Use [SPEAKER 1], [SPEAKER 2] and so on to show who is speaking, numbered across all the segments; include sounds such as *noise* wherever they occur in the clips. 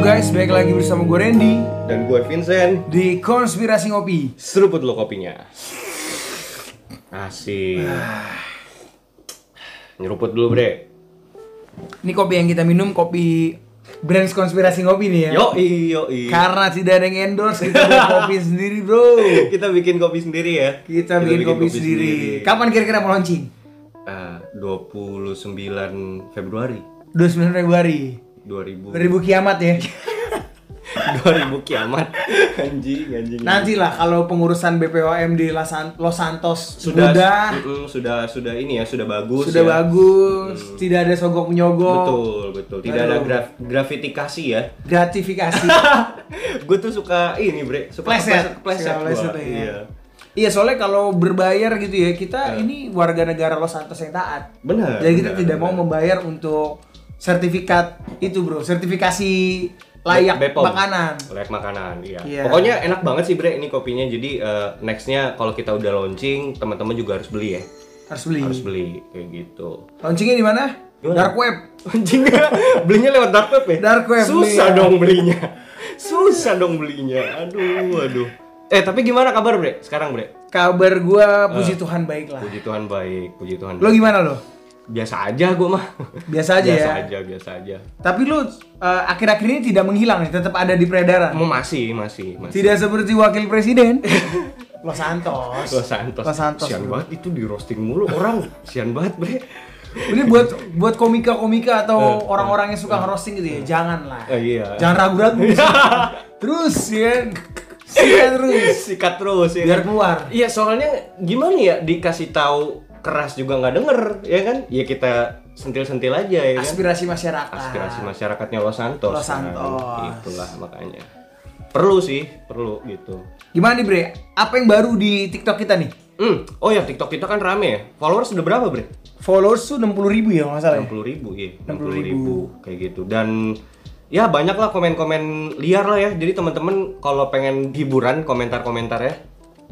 [SPEAKER 1] guys, balik lagi bersama gue Randy
[SPEAKER 2] Dan gue Vincent,
[SPEAKER 1] di Konspirasi Ngopi
[SPEAKER 2] seruput lo kopinya. Asik. Nyeruput dulu, Bre.
[SPEAKER 1] Ini kopi yang kita minum, kopi brand Konspirasi Ngopi nih ya
[SPEAKER 2] Yoi, yoi.
[SPEAKER 1] Karena tidak ada yang endorse, *laughs* kita bikin kopi sendiri bro
[SPEAKER 2] Kita bikin kopi sendiri ya.
[SPEAKER 1] Kita, bikin, kopi, sendiri. Kapan kira-kira mau launching?
[SPEAKER 2] Eh, 29 Februari
[SPEAKER 1] 29 Februari
[SPEAKER 2] 2000 *laughs*
[SPEAKER 1] Beribu kiamat ya
[SPEAKER 2] 2000 kiamat. Anjing, anjing.
[SPEAKER 1] Nanti lah kalau pengurusan BPOM di Los San- Los Santos
[SPEAKER 2] sudah
[SPEAKER 1] mudah,
[SPEAKER 2] mm-mm, sudah sudah ini ya, sudah bagus
[SPEAKER 1] Sudah
[SPEAKER 2] ya.
[SPEAKER 1] bagus, tidak ada sogok-menyogok
[SPEAKER 2] Betul, betul. Tidak ada
[SPEAKER 1] Aduh.
[SPEAKER 2] graf- gratifikasi ya.
[SPEAKER 1] Gratifikasi
[SPEAKER 2] gue tuh suka ini bre suka
[SPEAKER 1] Pleset,
[SPEAKER 2] pleset
[SPEAKER 1] Suka
[SPEAKER 2] pleset
[SPEAKER 1] pleset ya.
[SPEAKER 2] iya
[SPEAKER 1] Iya soalnya kalau berbayar gitu ya kita ini warga negara Los Santos yang taat.
[SPEAKER 2] benar
[SPEAKER 1] Jadi kita
[SPEAKER 2] benar,
[SPEAKER 1] tidak mau
[SPEAKER 2] benar.
[SPEAKER 1] membayar untuk sertifikat itu bro, sertifikasi layak
[SPEAKER 2] Be- Bepom.
[SPEAKER 1] makanan.
[SPEAKER 2] layak makanan iya
[SPEAKER 1] Iya.
[SPEAKER 2] pokoknya enak banget sih bre ini kopinya jadi eh, nextnya kalau kita udah launching teman-teman juga harus beli ya
[SPEAKER 1] Harus beli.
[SPEAKER 2] harus beli kayak gitu *laughs*
[SPEAKER 1] Launchingnya di mana?
[SPEAKER 2] Gimana?
[SPEAKER 1] Dark web.
[SPEAKER 2] anjing belinya lewat dark web ya
[SPEAKER 1] Dark web,
[SPEAKER 2] susah
[SPEAKER 1] iya.
[SPEAKER 2] dong belinya susah dong belinya aduh aduh eh tapi gimana kabar bre sekarang bre
[SPEAKER 1] Kabar gua
[SPEAKER 2] Eh.
[SPEAKER 1] puji Tuhan baik lah.
[SPEAKER 2] puji Tuhan baik puji Tuhan
[SPEAKER 1] Lo gimana lo?
[SPEAKER 2] biasa aja gue mah
[SPEAKER 1] Biasa aja
[SPEAKER 2] biasa
[SPEAKER 1] ya.
[SPEAKER 2] aja biasa aja
[SPEAKER 1] Tapi lo eh, akhir-akhir ini tidak menghilang nih, tetap ada di peredaran.
[SPEAKER 2] mau masih masih masih
[SPEAKER 1] Tidak seperti wakil presiden. Los Santos.
[SPEAKER 2] *laughs* Los Santos.
[SPEAKER 1] Los Santos.
[SPEAKER 2] Sian
[SPEAKER 1] bro.
[SPEAKER 2] banget itu di roasting mulu orang. Sian banget, Bre.
[SPEAKER 1] Ini buat buat komika-komika atau orang-orang yang suka ngerosting gitu ya, jangan lah.
[SPEAKER 2] Eh, *laughs* iya.
[SPEAKER 1] Jangan ragu-ragu. terus ya, sikat terus.
[SPEAKER 2] *laughs* Sikat terus ya.
[SPEAKER 1] Biar
[SPEAKER 2] kan?
[SPEAKER 1] keluar.
[SPEAKER 2] Iya, soalnya gimana ya dikasih tahu keras juga nggak denger, ya kan? Ya kita sentil-sentil aja ya kan.
[SPEAKER 1] Aspirasi masyarakat.
[SPEAKER 2] Aspirasi masyarakatnya Los Santos.
[SPEAKER 1] Los
[SPEAKER 2] kan.
[SPEAKER 1] Santos.
[SPEAKER 2] Itulah makanya. Perlu sih, perlu gitu.
[SPEAKER 1] Gimana nih Bre? Apa yang baru di TikTok kita nih?
[SPEAKER 2] Hmm. Oh ya, TikTok kita kan rame ya. Followers udah berapa, Bre?
[SPEAKER 1] Followers tuh 60 ribu ya kalau nggak salah ya?
[SPEAKER 2] 60 ribu, iya.
[SPEAKER 1] 60.000.
[SPEAKER 2] 60 ribu. Kayak gitu. Dan ya banyak lah komen-komen liar lah ya. Jadi teman-teman kalau pengen hiburan komentar-komentar ya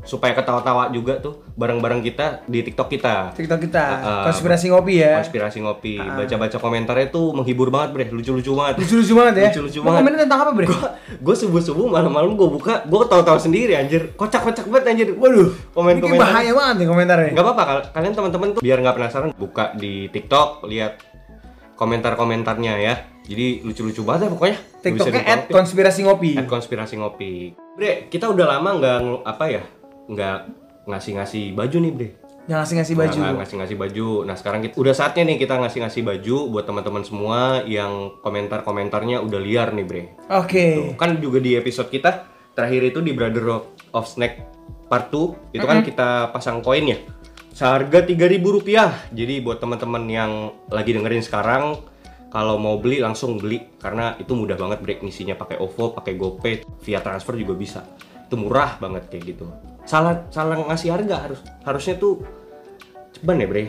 [SPEAKER 2] supaya ketawa-tawa juga tuh bareng-bareng kita di TikTok kita.
[SPEAKER 1] TikTok kita,
[SPEAKER 2] Ah, ah.
[SPEAKER 1] konspirasi ngopi ya.
[SPEAKER 2] Konspirasi ngopi, baca-baca komentarnya tuh menghibur banget bre, lucu-lucu banget.
[SPEAKER 1] Lucu-lucu banget ya.
[SPEAKER 2] Lucu-lucu
[SPEAKER 1] Lu
[SPEAKER 2] banget.
[SPEAKER 1] komennya tentang apa Bre?
[SPEAKER 2] gue subuh-subuh malam-malam gue buka, gue ketawa-tawa sendiri anjir, kocak-kocak banget anjir. Waduh,
[SPEAKER 1] Ini kayak
[SPEAKER 2] komen-komen
[SPEAKER 1] bahaya banget nih komentarnya.
[SPEAKER 2] Gak Eh, apa-apa, kal- kalian teman-teman tuh biar nggak penasaran buka di TikTok lihat komentar-komentarnya ya. Jadi lucu-lucu banget ya pokoknya.
[SPEAKER 1] TikToknya
[SPEAKER 2] Bisa
[SPEAKER 1] at
[SPEAKER 2] ditonton.
[SPEAKER 1] konspirasi ngopi.
[SPEAKER 2] At konspirasi ngopi. Bre, kita udah lama nggak ngel- apa ya? Nggak ngasih-ngasih baju nih, Bre.
[SPEAKER 1] Yang ngasih-ngasih
[SPEAKER 2] Nggak-
[SPEAKER 1] baju.
[SPEAKER 2] nggak ngasih-ngasih baju. Nah, sekarang kita udah saatnya nih kita ngasih-ngasih baju buat teman-teman semua yang komentar-komentarnya udah liar nih, Bre.
[SPEAKER 1] Oke.
[SPEAKER 2] Kan juga di episode kita terakhir itu di Brother of Snack Part 2 itu kan kita pasang koin ya. Seharga 3000 rupiah. Jadi buat teman-teman yang lagi dengerin sekarang kalau mau beli langsung beli karena itu mudah banget break ngisinya pakai OVO, pakai GoPay, via transfer juga bisa. Itu murah banget kayak gitu. Salah salah ngasih harga harus harusnya tuh ceban ya, Bre.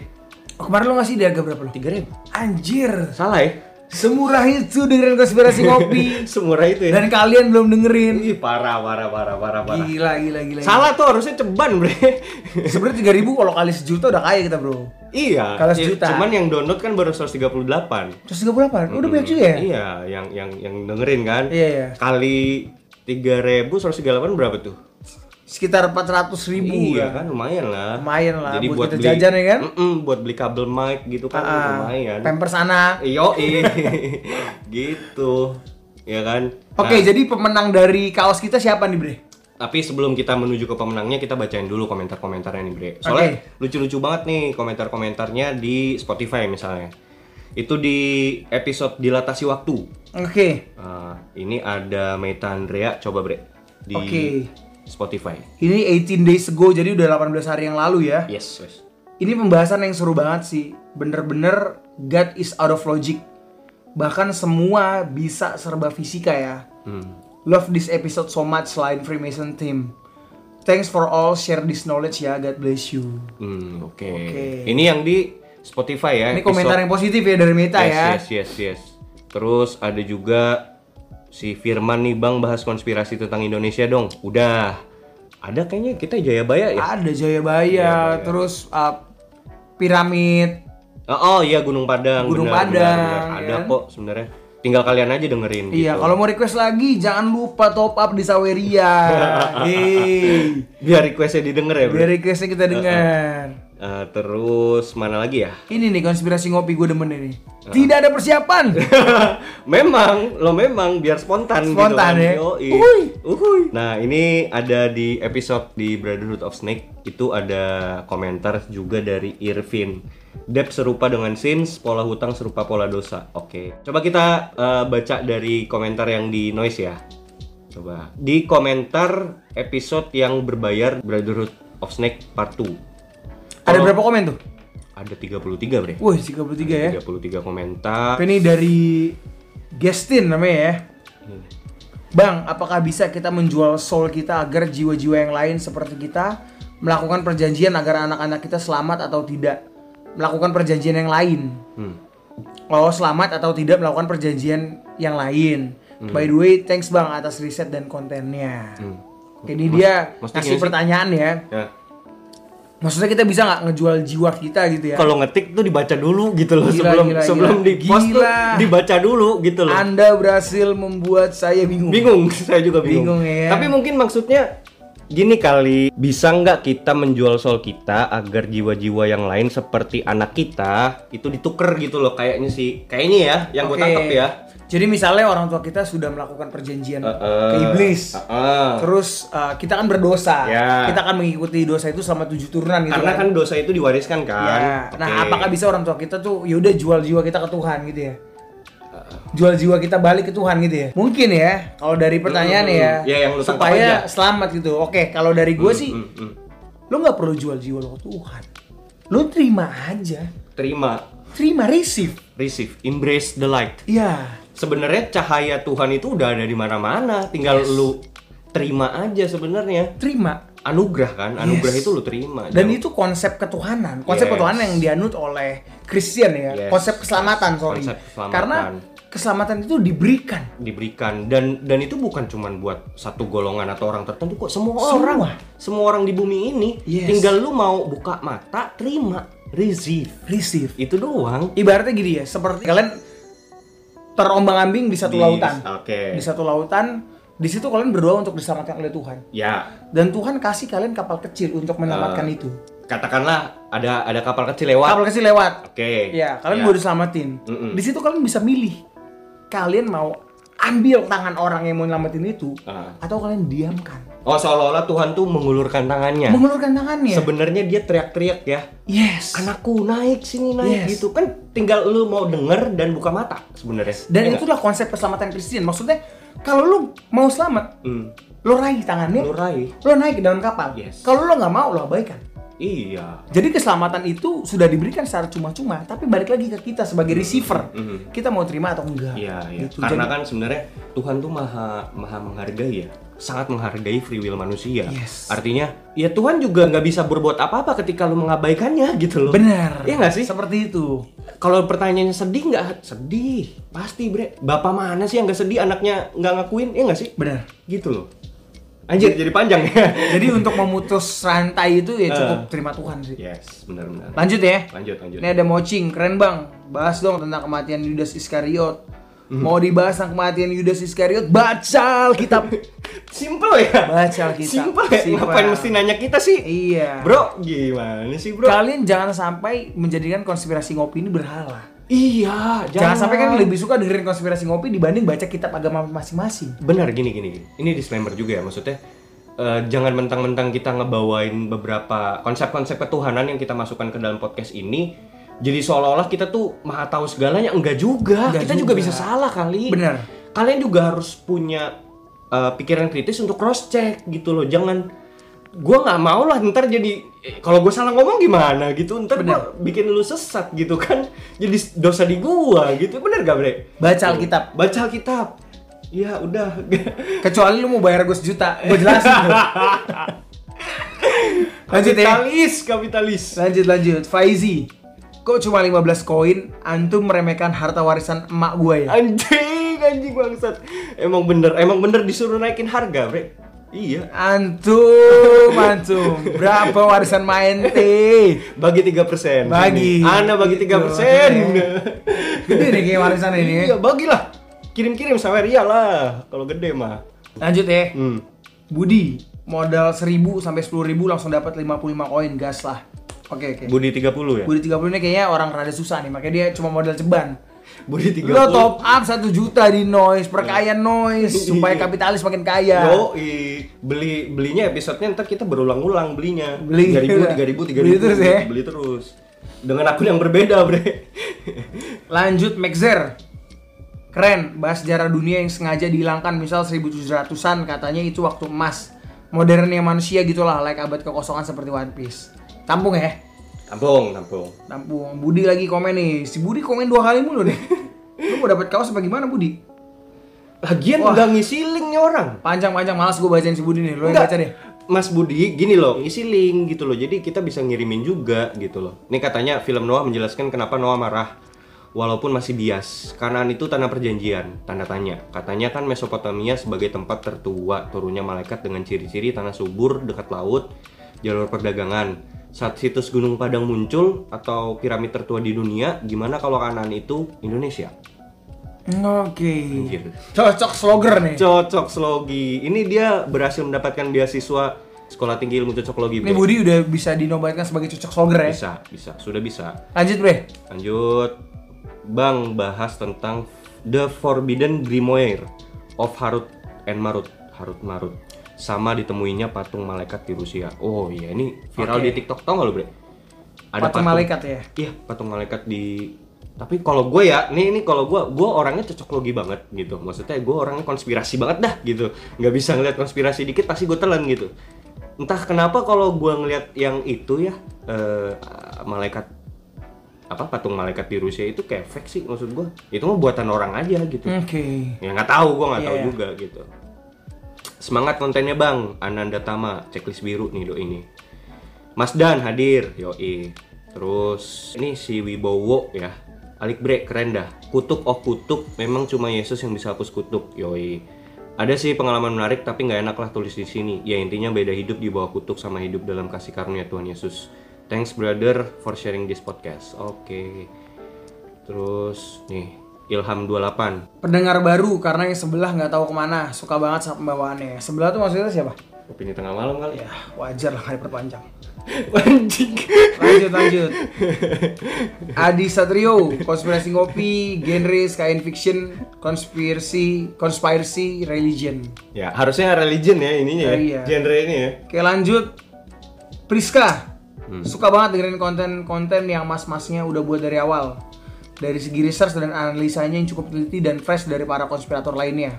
[SPEAKER 1] Oh, kemarin lo ngasih di harga berapa lo?
[SPEAKER 2] 3000.
[SPEAKER 1] Anjir.
[SPEAKER 2] Salah ya? *laughs*
[SPEAKER 1] Semurah itu dengerin konspirasi ngopi.
[SPEAKER 2] Semurah itu ya.
[SPEAKER 1] Dan kalian belum dengerin.
[SPEAKER 2] Ih, parah parah parah parah parah.
[SPEAKER 1] Gila, gila, gila.
[SPEAKER 2] Salah tuh harusnya ceban, Bre. *laughs*
[SPEAKER 1] Sebenarnya 3000 kalau kali sejuta udah kaya kita, Bro.
[SPEAKER 2] Iya.
[SPEAKER 1] Kalau
[SPEAKER 2] i-
[SPEAKER 1] sejuta.
[SPEAKER 2] Cuman yang download kan baru 138.
[SPEAKER 1] Terus 38? Udah banyak juga ya?
[SPEAKER 2] Iya, yang yang yang dengerin kan.
[SPEAKER 1] Iya, iya.
[SPEAKER 2] Kali 3000 138 berapa tuh?
[SPEAKER 1] Sekitar 400 ribu.
[SPEAKER 2] iya kan lumayan lah.
[SPEAKER 1] Lumayan lah,
[SPEAKER 2] Jadi
[SPEAKER 1] buat
[SPEAKER 2] buat,
[SPEAKER 1] kita
[SPEAKER 2] beli
[SPEAKER 1] jajan ya kan? Ah,
[SPEAKER 2] Mm-mm, buat beli kabel mic gitu kan lumayan. Nah.
[SPEAKER 1] Pampers anak.
[SPEAKER 2] Iyo, *laughs* gitu. Ya kan?
[SPEAKER 1] Oke, jadi pemenang dari kaos kita siapa nih, Bre?
[SPEAKER 2] Tapi sebelum kita menuju ke pemenangnya, kita bacain dulu komentar-komentarnya nih, Bre. Soalnya lucu-lucu banget nih komentar-komentarnya di Spotify misalnya. Itu di episode dilatasi waktu.
[SPEAKER 1] Oke.
[SPEAKER 2] Eh, ini ada Meta Andrea, coba Bre. Di
[SPEAKER 1] Oke.
[SPEAKER 2] Spotify.
[SPEAKER 1] Ini 18 days ago, jadi udah 18 hari yang lalu ya.
[SPEAKER 2] Yes, yes.
[SPEAKER 1] Ini pembahasan yang seru banget sih. Bener-bener God is out of logic. Bahkan semua bisa serba fisika ya.
[SPEAKER 2] Hmm.
[SPEAKER 1] Love this episode so much selain Freemason team. Thanks for all share this knowledge ya. God bless you.
[SPEAKER 2] Hmm, oke.
[SPEAKER 1] Oke.
[SPEAKER 2] Ini yang di Spotify ya.
[SPEAKER 1] Ini komentar yang positif ya dari Meta
[SPEAKER 2] yes,
[SPEAKER 1] ya.
[SPEAKER 2] Yes, yes, yes. Terus ada juga si Firman nih, Bang bahas konspirasi tentang Indonesia dong. Udah. Ada kayaknya kita Jayabaya ya?
[SPEAKER 1] Ada Jayabaya, terus uh, piramid.
[SPEAKER 2] Oh, oh iya Gunung Padang.
[SPEAKER 1] Gunung
[SPEAKER 2] benar,
[SPEAKER 1] Padang,
[SPEAKER 2] benar, benar. Ada
[SPEAKER 1] ya.
[SPEAKER 2] kok sebenarnya. Tinggal kalian aja dengerin
[SPEAKER 1] Iya,
[SPEAKER 2] gitu.
[SPEAKER 1] kalau mau request lagi jangan lupa top up di
[SPEAKER 2] *laughs*
[SPEAKER 1] Saweria. Hey,
[SPEAKER 2] Biar requestnya didengar ya, Bro.
[SPEAKER 1] biar requestnya kita dengar.
[SPEAKER 2] Eh, terus mana lagi ya?
[SPEAKER 1] Ini nih konspirasi ngopi gue demen ini.
[SPEAKER 2] Nah.
[SPEAKER 1] Tidak ada
[SPEAKER 2] *laughs*
[SPEAKER 1] persiapan.
[SPEAKER 2] memang, lo memang biar spontan,
[SPEAKER 1] Spontan
[SPEAKER 2] gitu
[SPEAKER 1] ya?
[SPEAKER 2] kan. Yoi.
[SPEAKER 1] Uhuy.
[SPEAKER 2] Uhuy. Nah, ini ada di episode di Brotherhood of Snake itu ada komentar juga dari Irvin. Dep serupa dengan Sins, pola hutang serupa pola dosa. Oke. Coba kita eh, baca dari komentar yang di noise ya. Coba di komentar episode yang berbayar Brotherhood of Snake part 2.
[SPEAKER 1] ada berapa komen tuh?
[SPEAKER 2] Ada 33, Bre.
[SPEAKER 1] Wih, 33 ya.
[SPEAKER 2] 33 komentar.
[SPEAKER 1] Ini dari Gestin namanya ya.
[SPEAKER 2] Hmm.
[SPEAKER 1] Bang, apakah bisa kita menjual soul kita agar jiwa-jiwa yang lain seperti kita melakukan perjanjian agar anak-anak kita selamat atau tidak? Melakukan perjanjian yang lain.
[SPEAKER 2] Hmm.
[SPEAKER 1] Oh selamat atau tidak melakukan perjanjian yang lain. By the way, thanks bang atas riset dan kontennya.
[SPEAKER 2] Hmm.
[SPEAKER 1] Oke, ini dia
[SPEAKER 2] mesti
[SPEAKER 1] kasih
[SPEAKER 2] nggak sih?
[SPEAKER 1] pertanyaan ya.
[SPEAKER 2] Ya.
[SPEAKER 1] Maksudnya kita bisa nggak ngejual jiwa kita gitu ya?
[SPEAKER 2] kalau ngetik tuh dibaca dulu gitu loh
[SPEAKER 1] Gila,
[SPEAKER 2] sebelum
[SPEAKER 1] gila,
[SPEAKER 2] sebelum
[SPEAKER 1] gila.
[SPEAKER 2] di post tuh
[SPEAKER 1] Gila.
[SPEAKER 2] dibaca dulu gitu loh.
[SPEAKER 1] Anda berhasil membuat saya bingung.
[SPEAKER 2] bingung, *laughs* saya juga bingung.
[SPEAKER 1] Bingung, ya.
[SPEAKER 2] Tapi mungkin maksudnya gini kali, bisa nggak kita menjual soul kita agar jiwa-jiwa yang lain seperti anak kita itu dituker gitu loh kayaknya sih. Kayaknya ya yang gue
[SPEAKER 1] Oke.
[SPEAKER 2] tangkap ya.
[SPEAKER 1] Jadi misalnya orang tua kita sudah melakukan perjanjian
[SPEAKER 2] Heeh.
[SPEAKER 1] ke iblis.
[SPEAKER 2] Heeh.
[SPEAKER 1] Terus uh, kita kan berdosa.
[SPEAKER 2] Ya.
[SPEAKER 1] Kita akan mengikuti dosa itu selama tujuh turunan gitu
[SPEAKER 2] Karena
[SPEAKER 1] kan.
[SPEAKER 2] kan dosa itu diwariskan kan.
[SPEAKER 1] Ya. Nah,
[SPEAKER 2] Oke.
[SPEAKER 1] apakah bisa orang tua kita tuh yaudah jual jiwa kita ke Tuhan gitu ya? Jual jiwa kita balik ke Tuhan gitu ya? Mungkin ya, kalau dari pertanyaan
[SPEAKER 2] Hmm,
[SPEAKER 1] ya,
[SPEAKER 2] ya, yang lu tangkap
[SPEAKER 1] supaya selamat gitu. Oke, kalau dari gue sih,
[SPEAKER 2] Hmm, hmm.
[SPEAKER 1] lu nggak perlu jual jiwa lo ke Tuhan. Lu terima aja,
[SPEAKER 2] terima,
[SPEAKER 1] terima receive.
[SPEAKER 2] receive, embrace the light.
[SPEAKER 1] Ya,
[SPEAKER 2] sebenarnya cahaya Tuhan itu udah ada di mana-mana, tinggal lu terima aja sebenarnya.
[SPEAKER 1] terima.
[SPEAKER 2] Anugerah kan, anugerah
[SPEAKER 1] Yes.
[SPEAKER 2] itu lu terima.
[SPEAKER 1] Dan
[SPEAKER 2] Jangan-
[SPEAKER 1] itu konsep ketuhanan, konsep
[SPEAKER 2] Yes.
[SPEAKER 1] ketuhanan yang dianut oleh Christian ya,
[SPEAKER 2] Yes.
[SPEAKER 1] konsep keselamatan sorry.
[SPEAKER 2] Konsep keselamatan.
[SPEAKER 1] Karena keselamatan itu diberikan
[SPEAKER 2] diberikan dan dan itu bukan cuman buat satu golongan atau orang tertentu kok semua,
[SPEAKER 1] Semua.
[SPEAKER 2] orang semua orang di bumi ini
[SPEAKER 1] Yes.
[SPEAKER 2] tinggal lu mau buka mata terima receive
[SPEAKER 1] receive.
[SPEAKER 2] itu doang
[SPEAKER 1] ibaratnya gini ya seperti kalian terombang-ambing di satu
[SPEAKER 2] Di-
[SPEAKER 1] lautan
[SPEAKER 2] oke
[SPEAKER 1] di satu lautan di situ kalian berdoa untuk diselamatkan oleh Tuhan
[SPEAKER 2] ya
[SPEAKER 1] dan Tuhan kasih kalian kapal kecil untuk menyelamatkan
[SPEAKER 2] Ah.
[SPEAKER 1] itu
[SPEAKER 2] katakanlah ada ada kapal kecil lewat
[SPEAKER 1] kapal kecil lewat
[SPEAKER 2] oke
[SPEAKER 1] ya kalian
[SPEAKER 2] Ya.
[SPEAKER 1] baru selamatin
[SPEAKER 2] Mm-mm.
[SPEAKER 1] di situ kalian bisa milih kalian mau ambil tangan orang yang mau nyelamatin itu
[SPEAKER 2] Ah.
[SPEAKER 1] atau kalian diamkan
[SPEAKER 2] oh seolah-olah Tuhan tuh mengulurkan tangannya
[SPEAKER 1] mengulurkan iya. tangannya
[SPEAKER 2] sebenarnya dia teriak-teriak ya
[SPEAKER 1] yes
[SPEAKER 2] anakku naik sini naik
[SPEAKER 1] Yes.
[SPEAKER 2] gitu kan tinggal lu mau denger dan buka mata sebenarnya
[SPEAKER 1] dan
[SPEAKER 2] Iya nggak?
[SPEAKER 1] itulah konsep keselamatan Kristen maksudnya kalau lu mau selamat
[SPEAKER 2] Hmm.
[SPEAKER 1] lo raih tangannya
[SPEAKER 2] lu raih
[SPEAKER 1] lo naik ke dalam kapal.
[SPEAKER 2] Yes.
[SPEAKER 1] Kalau lo nggak mau, lo abaikan.
[SPEAKER 2] iya
[SPEAKER 1] Jadi keselamatan itu sudah diberikan secara cuma-cuma, tapi balik lagi ke kita sebagai receiver,
[SPEAKER 2] Mhm.
[SPEAKER 1] kita mau terima atau enggak.
[SPEAKER 2] iya iya
[SPEAKER 1] Gitu.
[SPEAKER 2] karena
[SPEAKER 1] Jadi-
[SPEAKER 2] kan sebenarnya Tuhan tuh maha maha menghargai ya sangat menghargai free will manusia
[SPEAKER 1] Yes.
[SPEAKER 2] artinya ya Tuhan juga nggak bisa berbuat apa-apa ketika lu mengabaikannya *laughs* gitu loh
[SPEAKER 1] benar.
[SPEAKER 2] Iya nggak sih?
[SPEAKER 1] Seperti itu.
[SPEAKER 2] Kalau pertanyaannya sedih nggak? Sedih, pasti bre. Bapak mana sih yang nggak sedih anaknya nggak ngakuin? Iya nggak sih?
[SPEAKER 1] Benar.
[SPEAKER 2] Gitu loh. Anjir, jadi panjang ya. *laughs*
[SPEAKER 1] Jadi untuk memutus rantai itu ya cukup terima Tuhan sih.
[SPEAKER 2] yes, benar-benar.
[SPEAKER 1] Lanjut ya.
[SPEAKER 2] Lanjut, Eh. lanjut.
[SPEAKER 1] Ini ada mocing, keren bang. Bahas dong tentang kematian Yudas Iskariot.
[SPEAKER 2] Mhm.
[SPEAKER 1] Mau dibahas tentang kematian Yudas Iskariot, baca Alkitab.
[SPEAKER 2] *laughs* Simple ya.
[SPEAKER 1] Baca Alkitab.
[SPEAKER 2] Simple ya.
[SPEAKER 1] Simple.
[SPEAKER 2] Ngapain mesti nanya kita sih?
[SPEAKER 1] iya.
[SPEAKER 2] Bro, gimana sih bro?
[SPEAKER 1] Kalian jangan sampai menjadikan konspirasi ngopi ini berhala.
[SPEAKER 2] iya, jangan.
[SPEAKER 1] Jangan sampai kan lebih suka dengerin konspirasi ngopi dibanding baca kitab agama masing-masing.
[SPEAKER 2] Benar gini gini. gini. Ini disclaimer juga ya maksudnya. eh, jangan mentang-mentang kita ngebawain beberapa konsep-konsep ketuhanan yang kita masukkan ke dalam podcast ini jadi seolah-olah kita tuh maha tahu segalanya enggak juga
[SPEAKER 1] Enggak
[SPEAKER 2] kita juga.
[SPEAKER 1] juga.
[SPEAKER 2] bisa salah kali
[SPEAKER 1] Benar.
[SPEAKER 2] kalian juga harus punya eh, pikiran kritis untuk cross check gitu loh jangan gua nggak mau lah ntar jadi eh, kalau gue salah ngomong gimana gitu ntar gua bikin lu sesat gitu kan jadi dosa di gua gitu bener gak bre
[SPEAKER 1] Baca Alkitab.
[SPEAKER 2] baca kitab ya
[SPEAKER 1] *laughs*
[SPEAKER 2] udah
[SPEAKER 1] Kecuali lu mau bayar gue sejuta, gue jelasin.
[SPEAKER 2] *laughs*
[SPEAKER 1] tuh. Lanjut ya.
[SPEAKER 2] kapitalis kapitalis
[SPEAKER 1] Lanjut lanjut. Faizi, kok cuma 15 koin antum meremehkan harta warisan emak gue ya?
[SPEAKER 2] anjing anjing bangsat emang bener emang bener disuruh naikin harga bre iya
[SPEAKER 1] Antum, antum. Berapa warisan main teh?
[SPEAKER 2] bagi 3%
[SPEAKER 1] Bagi.
[SPEAKER 2] Ana bagi
[SPEAKER 1] Gitu,
[SPEAKER 2] 3% *laughs*
[SPEAKER 1] makanya. Gede nih kayak warisan ini.
[SPEAKER 2] Iya, bagilah. kirim-kirim Saweria lah kalau gede mah.
[SPEAKER 1] Lanjut ya.
[SPEAKER 2] Hmm.
[SPEAKER 1] Budi, modal 1000 sampai 10.000 langsung dapat 55 koin gas lah. Oke, oke.
[SPEAKER 2] Budi 30 ya.
[SPEAKER 1] Budi 30 ini kayaknya orang rada susah nih, makanya dia cuma modal ceban.
[SPEAKER 2] Budi 30.
[SPEAKER 1] Lo top up 1 juta di noise, perkaya noise supaya kapitalis makin kaya.
[SPEAKER 2] Yoi. beli belinya episodenya ntar kita berulang-ulang belinya.
[SPEAKER 1] Beli. Iya.
[SPEAKER 2] 3000 3000 3000.
[SPEAKER 1] Beli terus ya?
[SPEAKER 2] Beli terus. Dengan akun yang berbeda, Bre. *laughs*
[SPEAKER 1] Lanjut Maxer. Keren, bahas sejarah dunia yang sengaja dihilangkan misal 1700-an katanya itu waktu emas. Modernnya manusia gitulah, like abad kekosongan seperti One Piece. Tampung ya.
[SPEAKER 2] tampung, tampung.
[SPEAKER 1] Tampung. Budi lagi komen nih. Si Budi komen dua kali mulu deh. *laughs* Lu mau dapat kaos apa gimana Budi?
[SPEAKER 2] Lagian
[SPEAKER 1] Wah.
[SPEAKER 2] nggak ngisi linknya orang.
[SPEAKER 1] Panjang-panjang malas gue bacain si Budi nih. Lu yang
[SPEAKER 2] Enggak.
[SPEAKER 1] baca deh.
[SPEAKER 2] Mas Budi, gini loh, ngisi link gitu loh. Jadi kita bisa ngirimin juga gitu loh. Ini katanya film Noah menjelaskan kenapa Noah marah. Walaupun masih bias, kanan itu tanah perjanjian, tanda tanya. Katanya kan Mesopotamia sebagai tempat tertua turunnya malaikat dengan ciri-ciri tanah subur, dekat laut, jalur perdagangan. Saat situs Gunung Padang muncul atau piramid tertua di dunia, gimana kalau kanan itu Indonesia?
[SPEAKER 1] Oke.
[SPEAKER 2] Gitu.
[SPEAKER 1] Cocok slogger nih.
[SPEAKER 2] Cocok slogi. Ini dia berhasil mendapatkan beasiswa Sekolah Tinggi Ilmu Cocoklogi.
[SPEAKER 1] Ini
[SPEAKER 2] Bro.
[SPEAKER 1] Budi udah bisa dinobatkan sebagai cocok slogger ya.
[SPEAKER 2] Bisa, bisa, sudah bisa.
[SPEAKER 1] Lanjut bre.
[SPEAKER 2] Lanjut, Bang bahas tentang The Forbidden Grimoire of Harut and Marut, Harut Marut. Sama ditemuinya patung malaikat di Rusia. Oh iya, ini viral
[SPEAKER 1] Oke.
[SPEAKER 2] di TikTok tau nggak lo, Bre?
[SPEAKER 1] Patung malaikat ya.
[SPEAKER 2] Iya, patung malaikat di tapi kalau gue ya, nih ini kalau gue, gue orangnya cocoklogi banget gitu. Maksudnya gue orangnya konspirasi banget dah gitu. Nggak bisa ngeliat konspirasi dikit pasti gue telan gitu. Entah kenapa kalau gue ngeliat yang itu ya eh, malaikat apa patung malaikat di Rusia itu kayak fake sih maksud gue. Itu mah buatan orang aja gitu.
[SPEAKER 1] Oke.
[SPEAKER 2] Ya nggak tahu, gue nggak
[SPEAKER 1] Iya,
[SPEAKER 2] tahu
[SPEAKER 1] iya.
[SPEAKER 2] juga gitu. Semangat kontennya bang, Ananda Tama, checklist biru nih do ini. Mas Dan hadir, yoi. Terus ini si Wibowo ya, Alik Bre keren dah. Kutub oh kutub, memang cuma Yesus yang bisa hapus kutub, yoi. Ada sih pengalaman menarik tapi nggak enak lah tulis di sini. Ya intinya beda hidup di bawah kutuk sama hidup dalam kasih karunia Tuhan Yesus. Thanks brother for sharing this podcast. Oke. Terus nih Ilham 28
[SPEAKER 1] Pendengar baru karena yang sebelah nggak tahu kemana. Suka banget sama pembawaannya. Sebelah tuh maksudnya siapa?
[SPEAKER 2] Opini tengah malam kali
[SPEAKER 1] *laughs*
[SPEAKER 2] ya.
[SPEAKER 1] Ya wajar lah nggak diperpanjang.
[SPEAKER 2] Anjing.
[SPEAKER 1] lanjut lanjut Adi Satrio konspirasi ngopi genre science fiction konspirasi konspirasi religion
[SPEAKER 2] Ya, harusnya religion ya ininya ya.
[SPEAKER 1] Oh, iya.
[SPEAKER 2] Genre ini ya.
[SPEAKER 1] oke lanjut Priska suka banget dengerin konten-konten yang mas-masnya udah buat dari awal dari segi research dan analisanya yang cukup teliti dan fresh dari para konspirator lainnya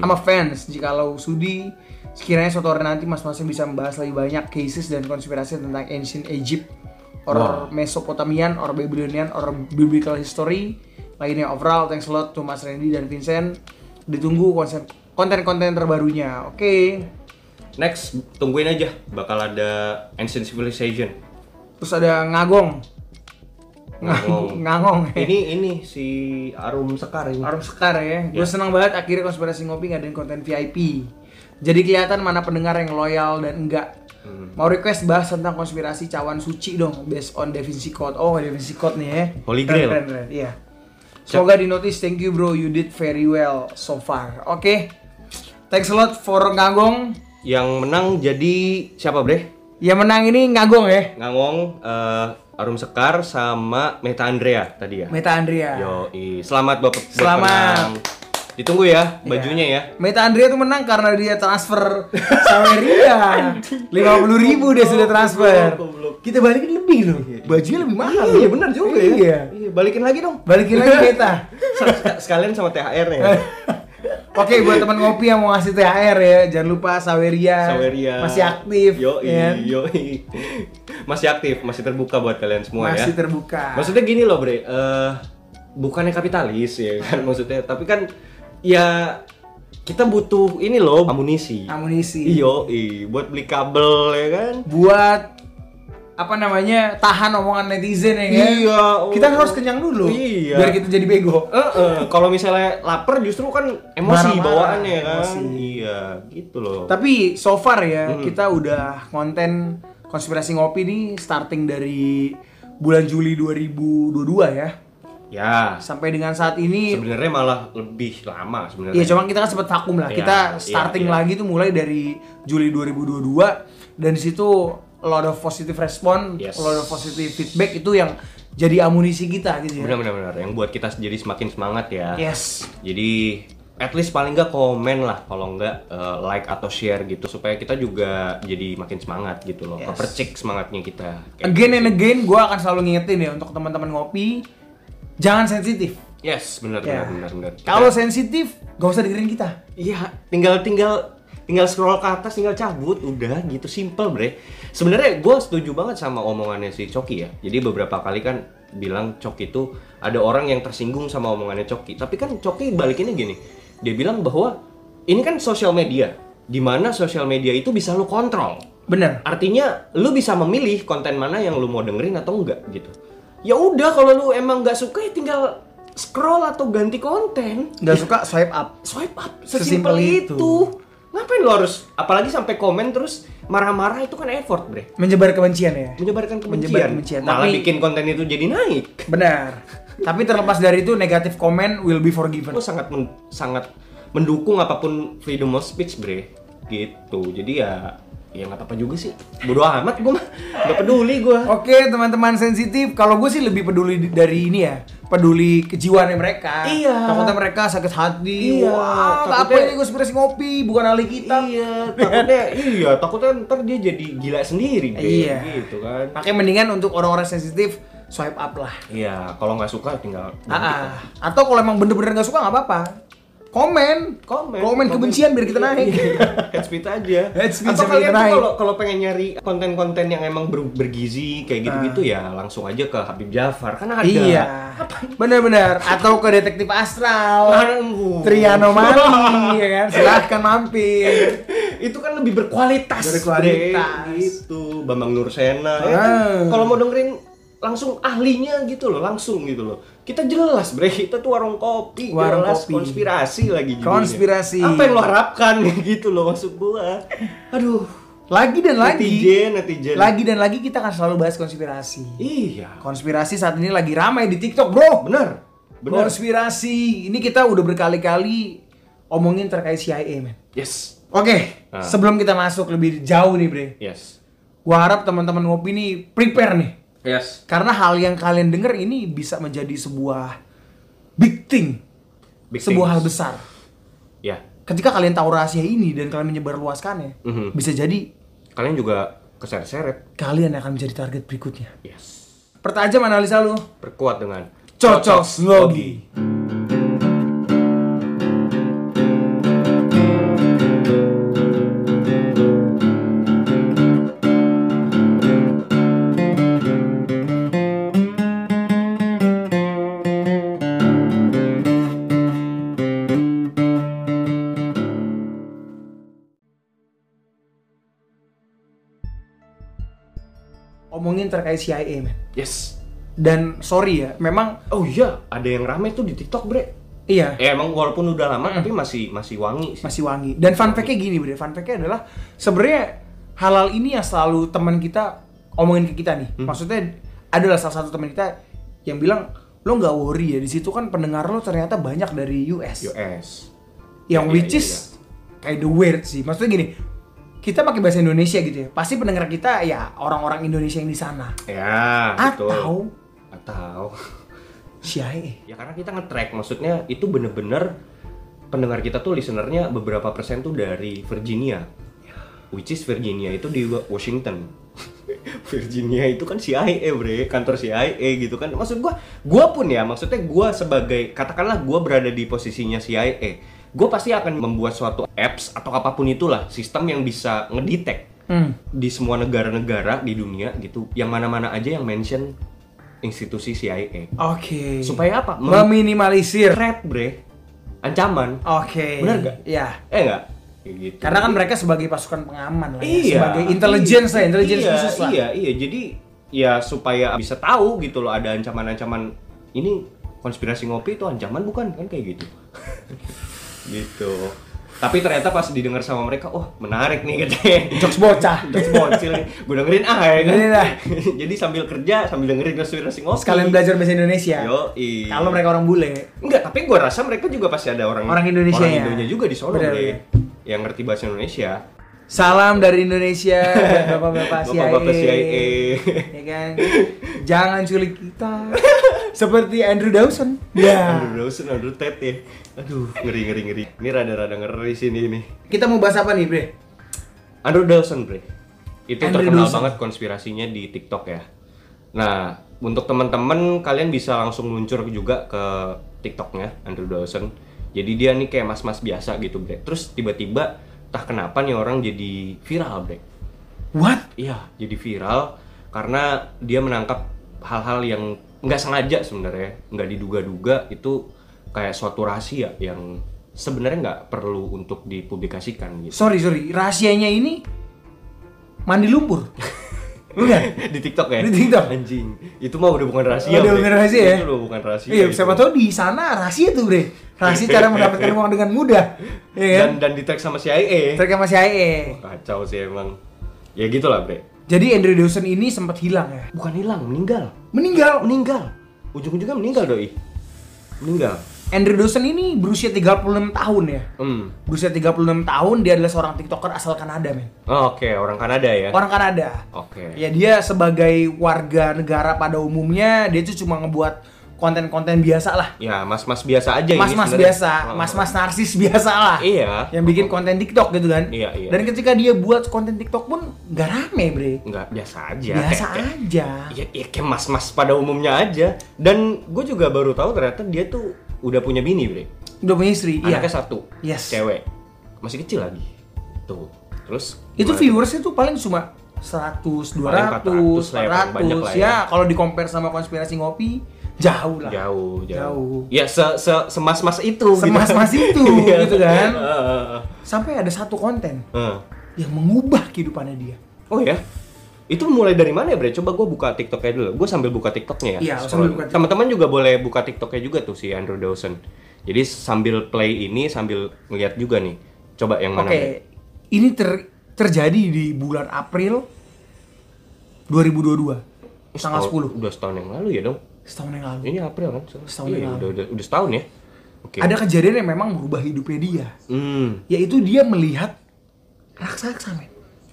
[SPEAKER 1] I'm a fans jikalau sudi sekiranya suatu hari nanti mas-masnya bisa membahas lebih banyak cases dan konspirasi tentang ancient Egypt or
[SPEAKER 2] Wow.
[SPEAKER 1] Mesopotamian or Babylonian or biblical history lainnya overall thanks a lot to Mas Randy dan Vincent ditunggu konsen- konten-konten terbarunya oke
[SPEAKER 2] Next, tungguin aja bakal ada Ancient Civilization.
[SPEAKER 1] terus ada ngagong ngagong, *laughs*
[SPEAKER 2] Ngagong.
[SPEAKER 1] ngagong
[SPEAKER 2] ini ini si Arum Sekar ini.
[SPEAKER 1] Arum Sekar ya. Gue senang banget akhirnya konspirasi ngopi ngadain konten VIP. Jadi kelihatan mana pendengar yang loyal dan enggak.
[SPEAKER 2] Hmm.
[SPEAKER 1] Mau request bahas tentang konspirasi cawan suci dong, based on Da Vinci Code. Oh, Da Vinci Code nih ya.
[SPEAKER 2] Holy
[SPEAKER 1] Keren,
[SPEAKER 2] Grail.
[SPEAKER 1] Keren, keren. Iya. Semoga di notice. Thank you bro, you did very well so far. Oke. Thanks a lot for Ngagong.
[SPEAKER 2] Yang menang jadi siapa, Bre?
[SPEAKER 1] Yang menang ini Ngagong ya.
[SPEAKER 2] Ngangong, eh, Arum Sekar sama Meta Andrea tadi ya.
[SPEAKER 1] Meta Andrea.
[SPEAKER 2] Yoi. selamat Bapak. buat
[SPEAKER 1] Selamat. Iya.
[SPEAKER 2] menang. Ditunggu ya bajunya ya.
[SPEAKER 1] Meta Andrea tuh menang karena dia transfer
[SPEAKER 2] *laughs*
[SPEAKER 1] Saweria. 50 ribu dia sudah transfer.
[SPEAKER 2] Oh, Goblok, goblok.
[SPEAKER 1] Kita balikin lebih loh. Bajunya lebih mahal.
[SPEAKER 2] Iya, benar juga ya.
[SPEAKER 1] Iya.
[SPEAKER 2] Iya, balikin lagi dong.
[SPEAKER 1] Balikin lagi *laughs* Meta.
[SPEAKER 2] Sa- Sekalian sama
[SPEAKER 1] Eh,
[SPEAKER 2] THR-nya.
[SPEAKER 1] Oke buat teman ngopi yang mau ngasih THR ya, jangan lupa Saweria.
[SPEAKER 2] Saweria.
[SPEAKER 1] masih aktif.
[SPEAKER 2] Yoi,
[SPEAKER 1] ya.
[SPEAKER 2] yoi. Masih aktif, masih terbuka buat kalian semua
[SPEAKER 1] Masih
[SPEAKER 2] ya.
[SPEAKER 1] terbuka.
[SPEAKER 2] Maksudnya gini loh, Bre. eh, bukannya kapitalis ya kan *laughs* maksudnya, tapi kan ya kita butuh ini loh amunisi. Iya.
[SPEAKER 1] amunisi.
[SPEAKER 2] Yoi, buat beli kabel ya kan.
[SPEAKER 1] Buat apa namanya? Tahan omongan netizen ya kan?
[SPEAKER 2] Iya, oh.
[SPEAKER 1] Kita harus kenyang dulu.
[SPEAKER 2] Iya.
[SPEAKER 1] Biar kita jadi bego.
[SPEAKER 2] Eh, eh, kalau misalnya lapar justru kan emosi
[SPEAKER 1] Marah-marah,
[SPEAKER 2] bawaannya kan.
[SPEAKER 1] emosi.
[SPEAKER 2] Iya, gitu loh.
[SPEAKER 1] Tapi so far ya kita udah konten konspirasi ngopi nih starting dari bulan Juli 2022 ya.
[SPEAKER 2] Ya,
[SPEAKER 1] Sampai dengan saat ini
[SPEAKER 2] sebenarnya malah lebih lama sebenarnya.
[SPEAKER 1] Iya, cuman kita kan sempat vakum lah.
[SPEAKER 2] Iya,
[SPEAKER 1] kita
[SPEAKER 2] iya,
[SPEAKER 1] starting
[SPEAKER 2] iya.
[SPEAKER 1] lagi tuh mulai dari Juli 2022 dan di situ a lot of positive response,
[SPEAKER 2] Yes.
[SPEAKER 1] a lot of positive feedback itu yang jadi amunisi kita gitu ya.
[SPEAKER 2] benar-benar benar. yang buat kita jadi semakin semangat ya.
[SPEAKER 1] Yes.
[SPEAKER 2] Jadi at least paling nggak komen lah kalau nggak eh, like atau share gitu supaya kita juga jadi makin semangat gitu loh.
[SPEAKER 1] Yes.
[SPEAKER 2] Kepercik semangatnya kita. Kayak
[SPEAKER 1] Again
[SPEAKER 2] gitu
[SPEAKER 1] and
[SPEAKER 2] sih.
[SPEAKER 1] again gue akan selalu ngingetin ya untuk teman-teman ngopi jangan sensitif.
[SPEAKER 2] Yes, benar
[SPEAKER 1] Ya.
[SPEAKER 2] benar benar benar. Kita-
[SPEAKER 1] Kalau sensitif gak usah dengerin kita.
[SPEAKER 2] Iya, tinggal tinggal tinggal scroll ke atas, tinggal cabut, udah gitu simple bre. Sebenarnya gue setuju banget sama omongannya si Coki ya. Jadi beberapa kali kan bilang Coki itu ada orang yang tersinggung sama omongannya Coki. Tapi kan Coki balikinnya gini, dia bilang bahwa ini kan sosial media, dimana sosial media itu bisa lu kontrol.
[SPEAKER 1] Bener.
[SPEAKER 2] Artinya lu bisa memilih konten mana yang lu mau dengerin atau enggak gitu. Ya udah kalau lu emang nggak suka ya tinggal scroll atau ganti konten
[SPEAKER 1] Gak suka swipe up.
[SPEAKER 2] swipe up
[SPEAKER 1] Sesimpel
[SPEAKER 2] sesimpel
[SPEAKER 1] itu.
[SPEAKER 2] itu. Ngapain lo harus apalagi sampai komen terus marah-marah itu kan effort, Bre.
[SPEAKER 1] Menyebar kebencian ya.
[SPEAKER 2] Menyebarkan kebencian,
[SPEAKER 1] Menyebar kebencian,
[SPEAKER 2] malah
[SPEAKER 1] tapi-
[SPEAKER 2] bikin konten itu jadi naik.
[SPEAKER 1] Benar. Tapi terlepas dari itu negatif comment will be forgiven.
[SPEAKER 2] Gue sangat men- sangat mendukung apapun freedom of speech, Bre. Gitu. Jadi ya ya nggak apa-apa juga sih. Bodoh amat gue mah. Nggak peduli gue.
[SPEAKER 1] Oke teman-teman sensitif, kalau gue sih lebih peduli di- dari ini ya, peduli kejiwaan mereka.
[SPEAKER 2] Iya.
[SPEAKER 1] Takutnya mereka sakit hati.
[SPEAKER 2] Iya,
[SPEAKER 1] Wah, apa
[SPEAKER 2] takutnya-
[SPEAKER 1] ini konspirasi ngopi, bukan alih kita.
[SPEAKER 2] Iya, takutnya iya, takutnya ntar dia jadi gila sendiri, Bre.
[SPEAKER 1] Iya.
[SPEAKER 2] Gitu kan.
[SPEAKER 1] Makanya mendingan untuk orang-orang sensitif swipe up lah.
[SPEAKER 2] Iya, kalau nggak suka tinggal
[SPEAKER 1] Ah, ah. Atau kalau emang bener-bener nggak suka nggak apa-apa. Komen, Iya.
[SPEAKER 2] komen
[SPEAKER 1] kebencian biar kita naik.
[SPEAKER 2] head speed aja
[SPEAKER 1] Head speed biar
[SPEAKER 2] atau
[SPEAKER 1] kita
[SPEAKER 2] kalian tuh
[SPEAKER 1] naik.
[SPEAKER 2] kalau kalau pengen nyari konten-konten yang emang ber- bergizi kayak gitu-gitu ya langsung aja ke Habib Jafar kan
[SPEAKER 1] Nah.
[SPEAKER 2] ada
[SPEAKER 1] Iya.
[SPEAKER 2] apa
[SPEAKER 1] Bener-bener. Atau ke detektif astral.
[SPEAKER 2] Barangku.
[SPEAKER 1] Triano Mani, ya kan? Silahkan mampir.
[SPEAKER 2] *laughs* itu kan lebih berkualitas
[SPEAKER 1] Berkualitas.
[SPEAKER 2] Bre. gitu Bambang Nursena ya kan?
[SPEAKER 1] Ah.
[SPEAKER 2] kalau mau dengerin langsung ahlinya gitu loh langsung gitu loh kita jelas bre kita tuh warung kopi
[SPEAKER 1] Warung
[SPEAKER 2] jelas
[SPEAKER 1] kopi.
[SPEAKER 2] konspirasi lagi judulnya.
[SPEAKER 1] Konspirasi.
[SPEAKER 2] apa yang lo harapkan *laughs* gitu loh maksud gua aduh
[SPEAKER 1] Lagi dan lagi.
[SPEAKER 2] netizen netizen
[SPEAKER 1] Lagi dan lagi kita akan selalu bahas konspirasi.
[SPEAKER 2] Iya.
[SPEAKER 1] Konspirasi saat ini lagi ramai di TikTok, Bro.
[SPEAKER 2] Benar.
[SPEAKER 1] Oh,
[SPEAKER 2] Benar.
[SPEAKER 1] Konspirasi. Ini kita udah berkali-kali omongin terkait CIA, men.
[SPEAKER 2] Yes.
[SPEAKER 1] Oke,
[SPEAKER 2] Ah.
[SPEAKER 1] sebelum kita masuk lebih jauh nih, Bre.
[SPEAKER 2] Yes.
[SPEAKER 1] Gua harap teman-teman ngopi nih prepare nih.
[SPEAKER 2] Yes.
[SPEAKER 1] Karena hal yang kalian denger ini bisa menjadi sebuah big thing.
[SPEAKER 2] Big
[SPEAKER 1] sebuah
[SPEAKER 2] things.
[SPEAKER 1] hal besar.
[SPEAKER 2] Ya.
[SPEAKER 1] Ketika kalian tahu rahasia ini dan kalian menyebarluaskannya,
[SPEAKER 2] Mhm.
[SPEAKER 1] bisa jadi
[SPEAKER 2] Kalian juga keseret-seret.
[SPEAKER 1] kalian akan menjadi target berikutnya.
[SPEAKER 2] Yes.
[SPEAKER 1] Pertajam analisa lu.
[SPEAKER 2] Perkuat dengan
[SPEAKER 1] Cocok Slogi. Omongin terkait CIA, men.
[SPEAKER 2] Yes.
[SPEAKER 1] Dan sorry ya, memang
[SPEAKER 2] Oh iya, ada yang rame tuh di TikTok, Bre.
[SPEAKER 1] iya
[SPEAKER 2] Ya emang walaupun udah lama tapi masih masih wangi sih.
[SPEAKER 1] masih wangi. Dan fun fact-nya gini, Bre. Fun fact-nya adalah sebenarnya halal ini yang selalu teman kita omongin ke kita nih.
[SPEAKER 2] Hmm.
[SPEAKER 1] Maksudnya adalah salah satu teman kita yang bilang lo nggak worry ya di situ kan pendengar lo ternyata banyak dari US.
[SPEAKER 2] US.
[SPEAKER 1] yang
[SPEAKER 2] Iya,
[SPEAKER 1] which
[SPEAKER 2] iya,
[SPEAKER 1] is kayak the weird sih. Maksudnya gini, kita pakai bahasa Indonesia gitu ya. Pasti pendengar kita ya orang-orang Indonesia yang di sana
[SPEAKER 2] Ya, betul.
[SPEAKER 1] atau
[SPEAKER 2] atau
[SPEAKER 1] CIA.
[SPEAKER 2] ya karena kita nge-track maksudnya itu bener-bener pendengar kita tuh listenernya beberapa persen tuh dari Virginia which is Virginia itu di Wa- Washington *laughs* Virginia itu kan CIA bre kantor CIA gitu kan maksud gua gua pun ya maksudnya gua sebagai katakanlah gua berada di posisinya CIA gua pasti akan membuat suatu apps atau apapun itulah sistem yang bisa ngedetect
[SPEAKER 1] Hmm.
[SPEAKER 2] di semua negara-negara di dunia gitu yang mana-mana aja yang mention institusi CIA
[SPEAKER 1] Oke.
[SPEAKER 2] supaya apa Mem-
[SPEAKER 1] Meminimalisir.
[SPEAKER 2] threat bre ancaman
[SPEAKER 1] Oke.
[SPEAKER 2] Benar nggak?
[SPEAKER 1] Ya.
[SPEAKER 2] eh enggak Kayak gitu.
[SPEAKER 1] Karena kan mereka sebagai pasukan pengaman lah, ya.
[SPEAKER 2] iya
[SPEAKER 1] sebagai intelligence lah, intelligence
[SPEAKER 2] iya,
[SPEAKER 1] khusus lah.
[SPEAKER 2] iya iya jadi ya supaya bisa tahu gitu loh ada ancaman-ancaman ini konspirasi ngopi itu ancaman bukan kan kayak *laughs* gitu gitu Tapi ternyata pas didengar sama mereka, oh menarik nih katanya.
[SPEAKER 1] Jokes bocah.
[SPEAKER 2] *laughs* Jokes bocil nih. Gue dengerin ah ya kan.
[SPEAKER 1] Dengerin ah.
[SPEAKER 2] *laughs* Jadi sambil kerja, sambil dengerin konspirasi ngopi.
[SPEAKER 1] Sekalian belajar bahasa Indonesia.
[SPEAKER 2] Yoi.
[SPEAKER 1] Kalau mereka orang bule.
[SPEAKER 2] Enggak, tapi gue rasa mereka juga pasti ada orang
[SPEAKER 1] Orang Indonesia
[SPEAKER 2] orang
[SPEAKER 1] ya.
[SPEAKER 2] Indonya juga di Solo
[SPEAKER 1] Benar,
[SPEAKER 2] Bre.
[SPEAKER 1] benar.
[SPEAKER 2] yang ngerti bahasa Indonesia.
[SPEAKER 1] Salam dari
[SPEAKER 2] *laughs*
[SPEAKER 1] Indonesia buat bapak-bapak CIA.
[SPEAKER 2] Bapak-bapak CIA.
[SPEAKER 1] Ya kan? Jangan culik kita. Seperti Andrew Dawson. Ya.
[SPEAKER 2] *laughs* Andrew Dawson, Andrew Tate ya. Aduh, ngeri ngeri ngeri. Ini rada-rada ngeri sini ini.
[SPEAKER 1] Kita mau bahas apa nih, Bre?
[SPEAKER 2] Andrew Dawson, Bre. Itu
[SPEAKER 1] Andrew
[SPEAKER 2] terkenal
[SPEAKER 1] Dawson.
[SPEAKER 2] banget konspirasinya di TikTok ya. Nah, untuk teman-teman kalian bisa langsung meluncur juga ke TikToknya Andrew Dawson. Jadi dia nih kayak mas-mas biasa gitu, Bre. Terus tiba-tiba entah kenapa nih orang jadi viral, Bre.
[SPEAKER 1] What?
[SPEAKER 2] Iya, jadi viral karena dia menangkap hal-hal yang nggak sengaja sebenarnya, nggak diduga-duga itu kayak suatu rahasia yang sebenarnya nggak perlu untuk dipublikasikan gitu.
[SPEAKER 1] Sorry, sorry. Rahasianya ini mandi
[SPEAKER 2] *laughs*
[SPEAKER 1] lumpur. Bukan?
[SPEAKER 2] di TikTok ya?
[SPEAKER 1] Di TikTok.
[SPEAKER 2] Anjing. Itu mah udah bukan rahasia.
[SPEAKER 1] Udah
[SPEAKER 2] Bre.
[SPEAKER 1] bukan rahasia ya?
[SPEAKER 2] Itu udah bukan rahasia. gitu.
[SPEAKER 1] Iya,
[SPEAKER 2] itu.
[SPEAKER 1] siapa tahu di sana rahasia tuh, Bre. Rahasia cara
[SPEAKER 2] *laughs*
[SPEAKER 1] mendapatkan uang dengan mudah. Iya kan?
[SPEAKER 2] Dan dan di tag sama CIA.
[SPEAKER 1] Terkait sama CIA.
[SPEAKER 2] Kacau sih emang. Ya gitulah, Bre.
[SPEAKER 1] Jadi Andrew Dawson ini sempat hilang ya.
[SPEAKER 2] Bukan hilang, meninggal.
[SPEAKER 1] Meninggal.
[SPEAKER 2] Meninggal. Ujung-ujungnya meninggal doi. Meninggal.
[SPEAKER 1] Andrew Dawson ini berusia 36 tahun ya.
[SPEAKER 2] Hmm.
[SPEAKER 1] Berusia 36 tahun dia adalah seorang TikToker asal Kanada, men.
[SPEAKER 2] Oh, Oke, orang Kanada ya.
[SPEAKER 1] Orang Kanada.
[SPEAKER 2] Oke.
[SPEAKER 1] Ya dia sebagai warga negara pada umumnya dia tuh cuma ngebuat konten-konten biasa lah.
[SPEAKER 2] Ya, mas-mas biasa aja ini
[SPEAKER 1] Mas-mas
[SPEAKER 2] sebenarnya.
[SPEAKER 1] biasa,
[SPEAKER 2] Oh.
[SPEAKER 1] mas-mas narsis *laughs* biasa lah.
[SPEAKER 2] Iya.
[SPEAKER 1] Yang bikin konten TikTok gitu kan.
[SPEAKER 2] Iya, iya.
[SPEAKER 1] Dan ketika dia buat konten TikTok pun gak rame, Bre.
[SPEAKER 2] Nggak, biasa aja.
[SPEAKER 1] biasa
[SPEAKER 2] Kayak- kayak-
[SPEAKER 1] aja.
[SPEAKER 2] Ya, ya kayak mas-mas pada umumnya aja. Dan gue juga baru tahu ternyata dia tuh udah punya bini, Bre.
[SPEAKER 1] Udah punya istri, iya.
[SPEAKER 2] Anaknya satu.
[SPEAKER 1] Yes.
[SPEAKER 2] Cewek. Masih kecil lagi. Tuh. Terus
[SPEAKER 1] Itu
[SPEAKER 2] gimana
[SPEAKER 1] viewersnya tuh paling cuma 100, 200,
[SPEAKER 2] 400 lah ya, paling banyak
[SPEAKER 1] 400
[SPEAKER 2] lah
[SPEAKER 1] ya.
[SPEAKER 2] ya.
[SPEAKER 1] kalau di compare sama konspirasi ngopi jauh
[SPEAKER 2] tuh?
[SPEAKER 1] lah.
[SPEAKER 2] Jauh, jauh.
[SPEAKER 1] Jauh.
[SPEAKER 2] Ya se se semas-mas itu gitu.
[SPEAKER 1] Semas-mas itu,
[SPEAKER 2] *laughs* Iya.
[SPEAKER 1] gitu kan.
[SPEAKER 2] Heeh, heeh,
[SPEAKER 1] Sampai ada satu konten
[SPEAKER 2] heeh.
[SPEAKER 1] yang mengubah kehidupannya dia.
[SPEAKER 2] Oh ya? Itu mulai dari mana ya, Bre? Coba gue buka TikToknya dulu. Gue sambil buka TikToknya ya.
[SPEAKER 1] Iya, sambil
[SPEAKER 2] Scroll.
[SPEAKER 1] buka TikTok.
[SPEAKER 2] Teman-teman juga boleh buka TikToknya juga tuh si Andrew Dawson. Jadi sambil play ini, sambil ngeliat juga nih. Coba
[SPEAKER 1] Oke,
[SPEAKER 2] yang mana, Bre?
[SPEAKER 1] ini ter- terjadi di bulan April 2022, tanggal
[SPEAKER 2] Setahun-
[SPEAKER 1] 10
[SPEAKER 2] Udah setahun yang lalu ya dong?
[SPEAKER 1] setahun yang lalu.
[SPEAKER 2] Ini April kan?
[SPEAKER 1] Setahun yang
[SPEAKER 2] Iya,
[SPEAKER 1] lalu.
[SPEAKER 2] Udah, udah, udah setahun ya? Oke.
[SPEAKER 1] Ada kejadian yang memang merubah hidupnya dia,
[SPEAKER 2] Hmm.
[SPEAKER 1] yaitu dia melihat raksasa men.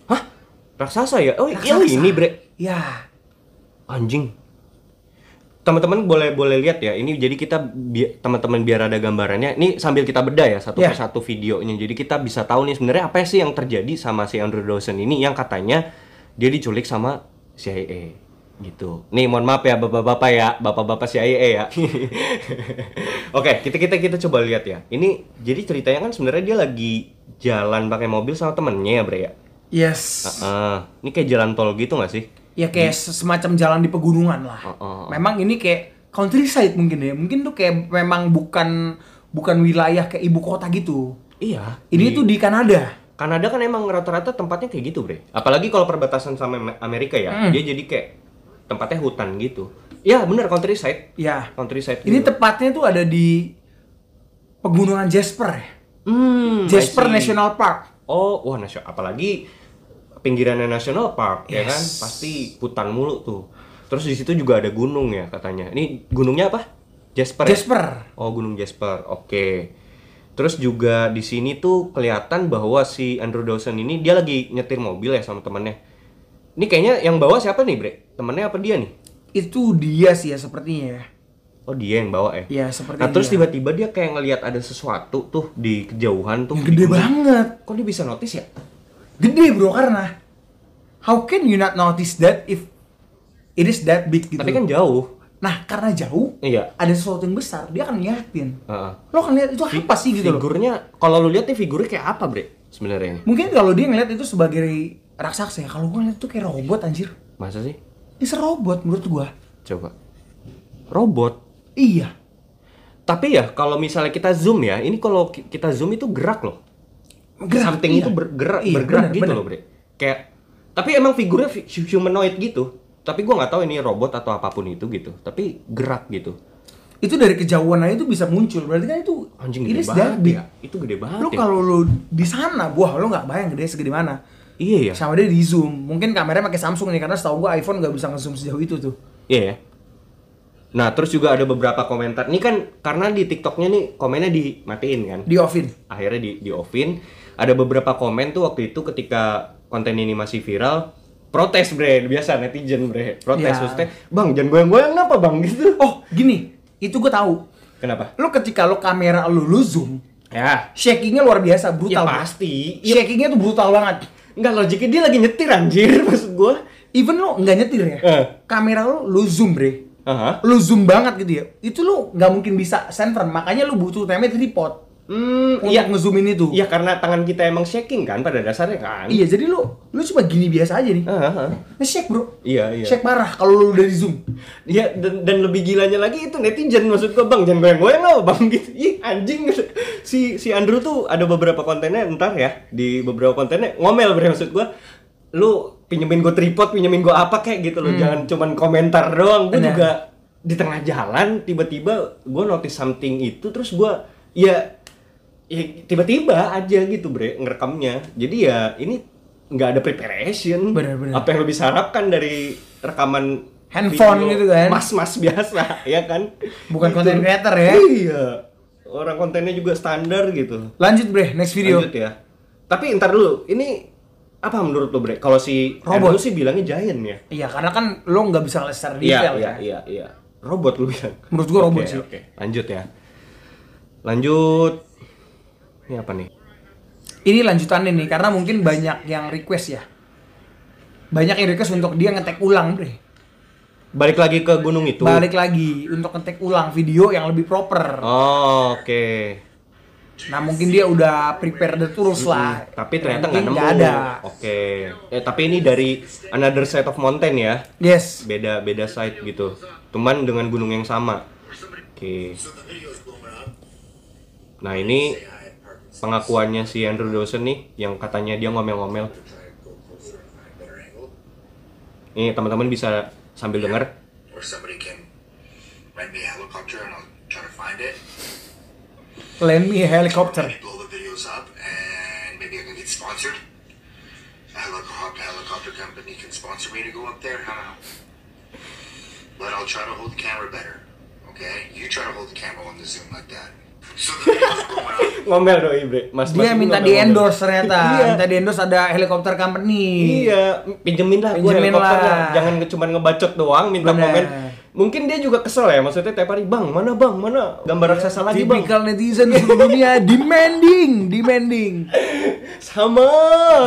[SPEAKER 2] Hah? Raksasa ya? Oh, iya
[SPEAKER 1] Raksasa.
[SPEAKER 2] ini, Bre.
[SPEAKER 1] Ya,
[SPEAKER 2] Anjing. Teman-teman boleh boleh lihat ya. Ini jadi kita bi- teman-teman biar ada gambarannya. Ini sambil kita bedah ya satu
[SPEAKER 1] Iya.
[SPEAKER 2] persatu videonya. Jadi kita bisa tahu nih sebenarnya apa sih yang terjadi sama si Andrew Dawson ini yang katanya dia diculik sama CIA gitu. Nih mohon maaf ya bapak-bapak ya, bapak-bapak CIA ya. *laughs* Oke, kita kita kita coba lihat ya. Ini jadi ceritanya kan sebenarnya dia lagi jalan pakai mobil sama temennya ya, Bre ya.
[SPEAKER 1] yes.
[SPEAKER 2] Heeh. ini kayak jalan tol gitu nggak sih?
[SPEAKER 1] Ya kayak semacam jalan di pegunungan lah.
[SPEAKER 2] Oh, oh, oh.
[SPEAKER 1] Memang ini kayak countryside mungkin ya. Mungkin tuh kayak memang bukan bukan wilayah kayak ibu kota gitu.
[SPEAKER 2] Iya.
[SPEAKER 1] Ini tuh di Kanada.
[SPEAKER 2] Kanada kan emang rata-rata tempatnya kayak gitu, Bre. Apalagi kalau perbatasan sama Am- Amerika ya,
[SPEAKER 1] Hmm.
[SPEAKER 2] dia jadi kayak tempatnya hutan gitu. Ya, bener countryside.
[SPEAKER 1] Ya.
[SPEAKER 2] Countryside.
[SPEAKER 1] Ini
[SPEAKER 2] gitu.
[SPEAKER 1] tepatnya tuh ada di pegunungan Jasper. ya.
[SPEAKER 2] Hmm,
[SPEAKER 1] Jasper
[SPEAKER 2] I see.
[SPEAKER 1] National Park.
[SPEAKER 2] Oh, wah nasional. Apalagi pinggirannya national park ya
[SPEAKER 1] Yes.
[SPEAKER 2] kan, pasti hutan mulu tuh. Terus di situ juga ada gunung ya katanya. Ini gunungnya apa? Jasper. ya?
[SPEAKER 1] Jasper.
[SPEAKER 2] Oh, Gunung Jasper. Oke. Terus juga di sini tuh kelihatan bahwa si Andrew Dawson ini dia lagi nyetir mobil ya sama temennya. Ini kayaknya yang bawa siapa nih, Bre? Temennya apa dia nih?
[SPEAKER 1] Itu dia sih ya sepertinya. ya.
[SPEAKER 2] Oh, dia yang bawa ya.
[SPEAKER 1] Ya seperti
[SPEAKER 2] nah, terus
[SPEAKER 1] dia.
[SPEAKER 2] tiba-tiba dia kayak ngelihat ada sesuatu tuh di kejauhan tuh.
[SPEAKER 1] Yang gede
[SPEAKER 2] Di gunung.
[SPEAKER 1] banget.
[SPEAKER 2] Kok dia bisa notice ya?
[SPEAKER 1] Gede bro karena how can you not notice that if it is that big gitu.
[SPEAKER 2] Tapi kan jauh.
[SPEAKER 1] Nah karena jauh
[SPEAKER 2] Iya. Oh.
[SPEAKER 1] ada sesuatu yang besar dia akan ngeliatin.
[SPEAKER 2] Heeh.
[SPEAKER 1] lo akan lihat itu apa sih gitu loh
[SPEAKER 2] Figurnya kalau lu lihat nih figurnya kayak apa, Bre? Sebenarnya ini.
[SPEAKER 1] mungkin kalau dia ngeliat itu sebagai raksasa ya kalau gue ngeliat itu kayak robot anjir
[SPEAKER 2] Masa sih?
[SPEAKER 1] ini serobot menurut gua
[SPEAKER 2] Coba. Robot.
[SPEAKER 1] iya
[SPEAKER 2] Tapi ya kalau misalnya kita zoom ya, ini kalau ki- kita zoom itu gerak loh. something
[SPEAKER 1] iya.
[SPEAKER 2] itu bergerak
[SPEAKER 1] Iya,
[SPEAKER 2] bergerak
[SPEAKER 1] bener,
[SPEAKER 2] gitu
[SPEAKER 1] bener.
[SPEAKER 2] loh bre kayak tapi emang figurnya fi- humanoid gitu tapi gua nggak tahu ini robot atau apapun itu gitu tapi gerak gitu
[SPEAKER 1] itu dari kejauhan aja itu bisa muncul berarti kan itu
[SPEAKER 2] Anjing
[SPEAKER 1] it
[SPEAKER 2] gede
[SPEAKER 1] is that
[SPEAKER 2] banget
[SPEAKER 1] big.
[SPEAKER 2] ya. Itu gede banget
[SPEAKER 1] lu
[SPEAKER 2] ya.
[SPEAKER 1] kalau lu di sana wah lu nggak bayang gede segede mana
[SPEAKER 2] Iya ya.
[SPEAKER 1] sama dia di zoom mungkin kameranya pakai Samsung nih karena setahu gua iPhone nggak bisa nge-zoom sejauh itu tuh
[SPEAKER 2] Iya ya. Nah, terus juga ada beberapa komentar. Ini kan karena di TikToknya nih komennya dimatiin kan.
[SPEAKER 1] di offin
[SPEAKER 2] Akhirnya di di offin. Ada beberapa komen tuh waktu itu ketika konten ini masih viral, protes bre, biasa netizen bre, protes
[SPEAKER 1] Ya.
[SPEAKER 2] maksudnya, bang jangan goyang-goyang kenapa bang *laughs* gitu.
[SPEAKER 1] oh gini itu gua tahu
[SPEAKER 2] Kenapa?
[SPEAKER 1] lu ketika lu kamera lu lu zoom
[SPEAKER 2] Ya,
[SPEAKER 1] shakingnya luar biasa brutal
[SPEAKER 2] ya
[SPEAKER 1] bro. Iya.
[SPEAKER 2] pasti. Ya,
[SPEAKER 1] shakingnya tuh brutal banget
[SPEAKER 2] nggak logiknya dia lagi nyetir anjir *laughs* maksud gua.
[SPEAKER 1] even lu nggak nyetir ya
[SPEAKER 2] Eh.
[SPEAKER 1] kamera lu lu zoom bre
[SPEAKER 2] Aha.
[SPEAKER 1] lu zoom banget gitu ya itu lu nggak mungkin bisa center makanya lu butuh namanya tripod
[SPEAKER 2] Hmm,
[SPEAKER 1] untuk
[SPEAKER 2] iya.
[SPEAKER 1] ngezoomin itu
[SPEAKER 2] Iya karena tangan kita emang shaking kan pada dasarnya kan.
[SPEAKER 1] Iya, jadi lu lu cuma gini biasa aja nih
[SPEAKER 2] Aha.
[SPEAKER 1] nge-shake bro
[SPEAKER 2] Iya, Eh. iya.
[SPEAKER 1] shake parah kalau lu dari zoom
[SPEAKER 2] Iya dan, dan lebih gilanya lagi itu netizen maksud gua bang jangan goyang-goyang lah bang *laughs* gitu ih anjing si si Andrew tuh ada beberapa kontennya ntar ya di beberapa kontennya ngomel bre maksud gua lu pinjemin gua tripod pinjemin gua apa kayak gitu
[SPEAKER 1] Hmm.
[SPEAKER 2] loh jangan cuman komentar doang gua
[SPEAKER 1] Benar.
[SPEAKER 2] juga di tengah jalan tiba-tiba gua notice something itu terus gua ya ya tiba-tiba aja gitu bre ngerekamnya jadi ya ini nggak ada preparation
[SPEAKER 1] Benar, benar.
[SPEAKER 2] apa yang lo bisa harapkan dari rekaman
[SPEAKER 1] Handphone gitu kan.
[SPEAKER 2] mas-mas biasa *laughs* ya kan
[SPEAKER 1] Bukan content creator ya.
[SPEAKER 2] iya orang kontennya juga standar gitu
[SPEAKER 1] lanjut bre next video
[SPEAKER 2] lanjut ya tapi ntar dulu ini apa menurut lo bre kalau si
[SPEAKER 1] Robot.
[SPEAKER 2] Andrew sih bilangnya giant ya
[SPEAKER 1] iya karena kan lu nggak bisa ngeliat secara detail
[SPEAKER 2] iya
[SPEAKER 1] kan.
[SPEAKER 2] iya iya robot lu bilang
[SPEAKER 1] menurut gua robot
[SPEAKER 2] Oke,
[SPEAKER 1] sih
[SPEAKER 2] oke. lanjut ya lanjut ini apa nih
[SPEAKER 1] ini lanjutannya nih karena mungkin banyak yang request ya banyak yang request untuk dia ngetek ulang bre
[SPEAKER 2] balik lagi ke gunung itu
[SPEAKER 1] balik lagi untuk ngetek ulang video yang lebih proper
[SPEAKER 2] oh, oke
[SPEAKER 1] nah mungkin dia udah prepare the tools lah
[SPEAKER 2] tapi ternyata nggak
[SPEAKER 1] Mungkin
[SPEAKER 2] nemu
[SPEAKER 1] ada
[SPEAKER 2] oke eh tapi ini dari another side of mountain ya
[SPEAKER 1] yes
[SPEAKER 2] beda beda side gitu teman dengan gunung yang sama oke nah ini pengakuannya si Andrew Dawson nih yang katanya dia ngomel-ngomel ini teman-teman bisa sambil denger
[SPEAKER 3] or somebody can rent me a helicopter and I'll try to find it.
[SPEAKER 1] lend me a helicopter
[SPEAKER 3] Maybe blow the videos up and maybe I can get sponsored. A helicopter, helicopter company can sponsor me to go up there. I don't know. But I'll try to hold the camera better. Okay? You try to hold the camera on the Zoom like that. So the video's going up.
[SPEAKER 2] ngomel doi bre mas
[SPEAKER 1] dia
[SPEAKER 2] Mas
[SPEAKER 1] minta
[SPEAKER 2] ngomel-ngomel.
[SPEAKER 1] di endorse ternyata
[SPEAKER 2] *laughs* iya
[SPEAKER 1] minta di endorse ada helicopter company
[SPEAKER 2] iya pinjemin lah gua
[SPEAKER 1] Pinjemin
[SPEAKER 2] helikopternya.
[SPEAKER 1] lah.
[SPEAKER 2] jangan cuma ngebacot doang minta
[SPEAKER 1] Bener.
[SPEAKER 2] komen mungkin dia juga kesel ya maksudnya tiap hari bang mana bang mana gambar raksasa lagi bang
[SPEAKER 1] Typical netizen seluruh dunia demanding, demanding.
[SPEAKER 2] *laughs* sama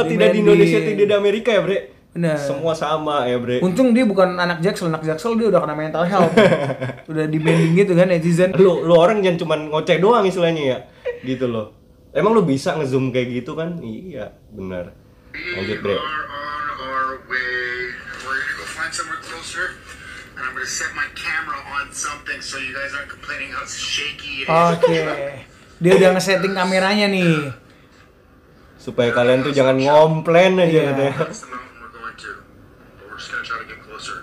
[SPEAKER 2] tidak di
[SPEAKER 1] Demanding.
[SPEAKER 2] Indonesia tidak di Amerika ya bre
[SPEAKER 1] Bener.
[SPEAKER 2] semua sama ya
[SPEAKER 1] *laughs*
[SPEAKER 2] bre
[SPEAKER 1] Untung dia bukan anak Jaksel, anak Jaksel dia udah kena mental
[SPEAKER 2] *laughs*
[SPEAKER 1] health. udah demanding gitu kan netizen.
[SPEAKER 2] lu lu orang jangan cuman ngoceh doang istilahnya ya gitu loh emang lu bisa ngezoom kayak gitu kan iya benar lanjut bre
[SPEAKER 3] on our way. We're gonna go find somewhere closer. And I'm gonna set my camera on something so you guys aren't complaining how shaky it is.
[SPEAKER 1] Oke. Dia udah ngesetting kameranya nih.
[SPEAKER 2] supaya kalian tuh jangan ngomplen aja
[SPEAKER 1] Iya.
[SPEAKER 2] katanya.
[SPEAKER 3] That's the mountain we're going to. But we're just gonna try to get closer.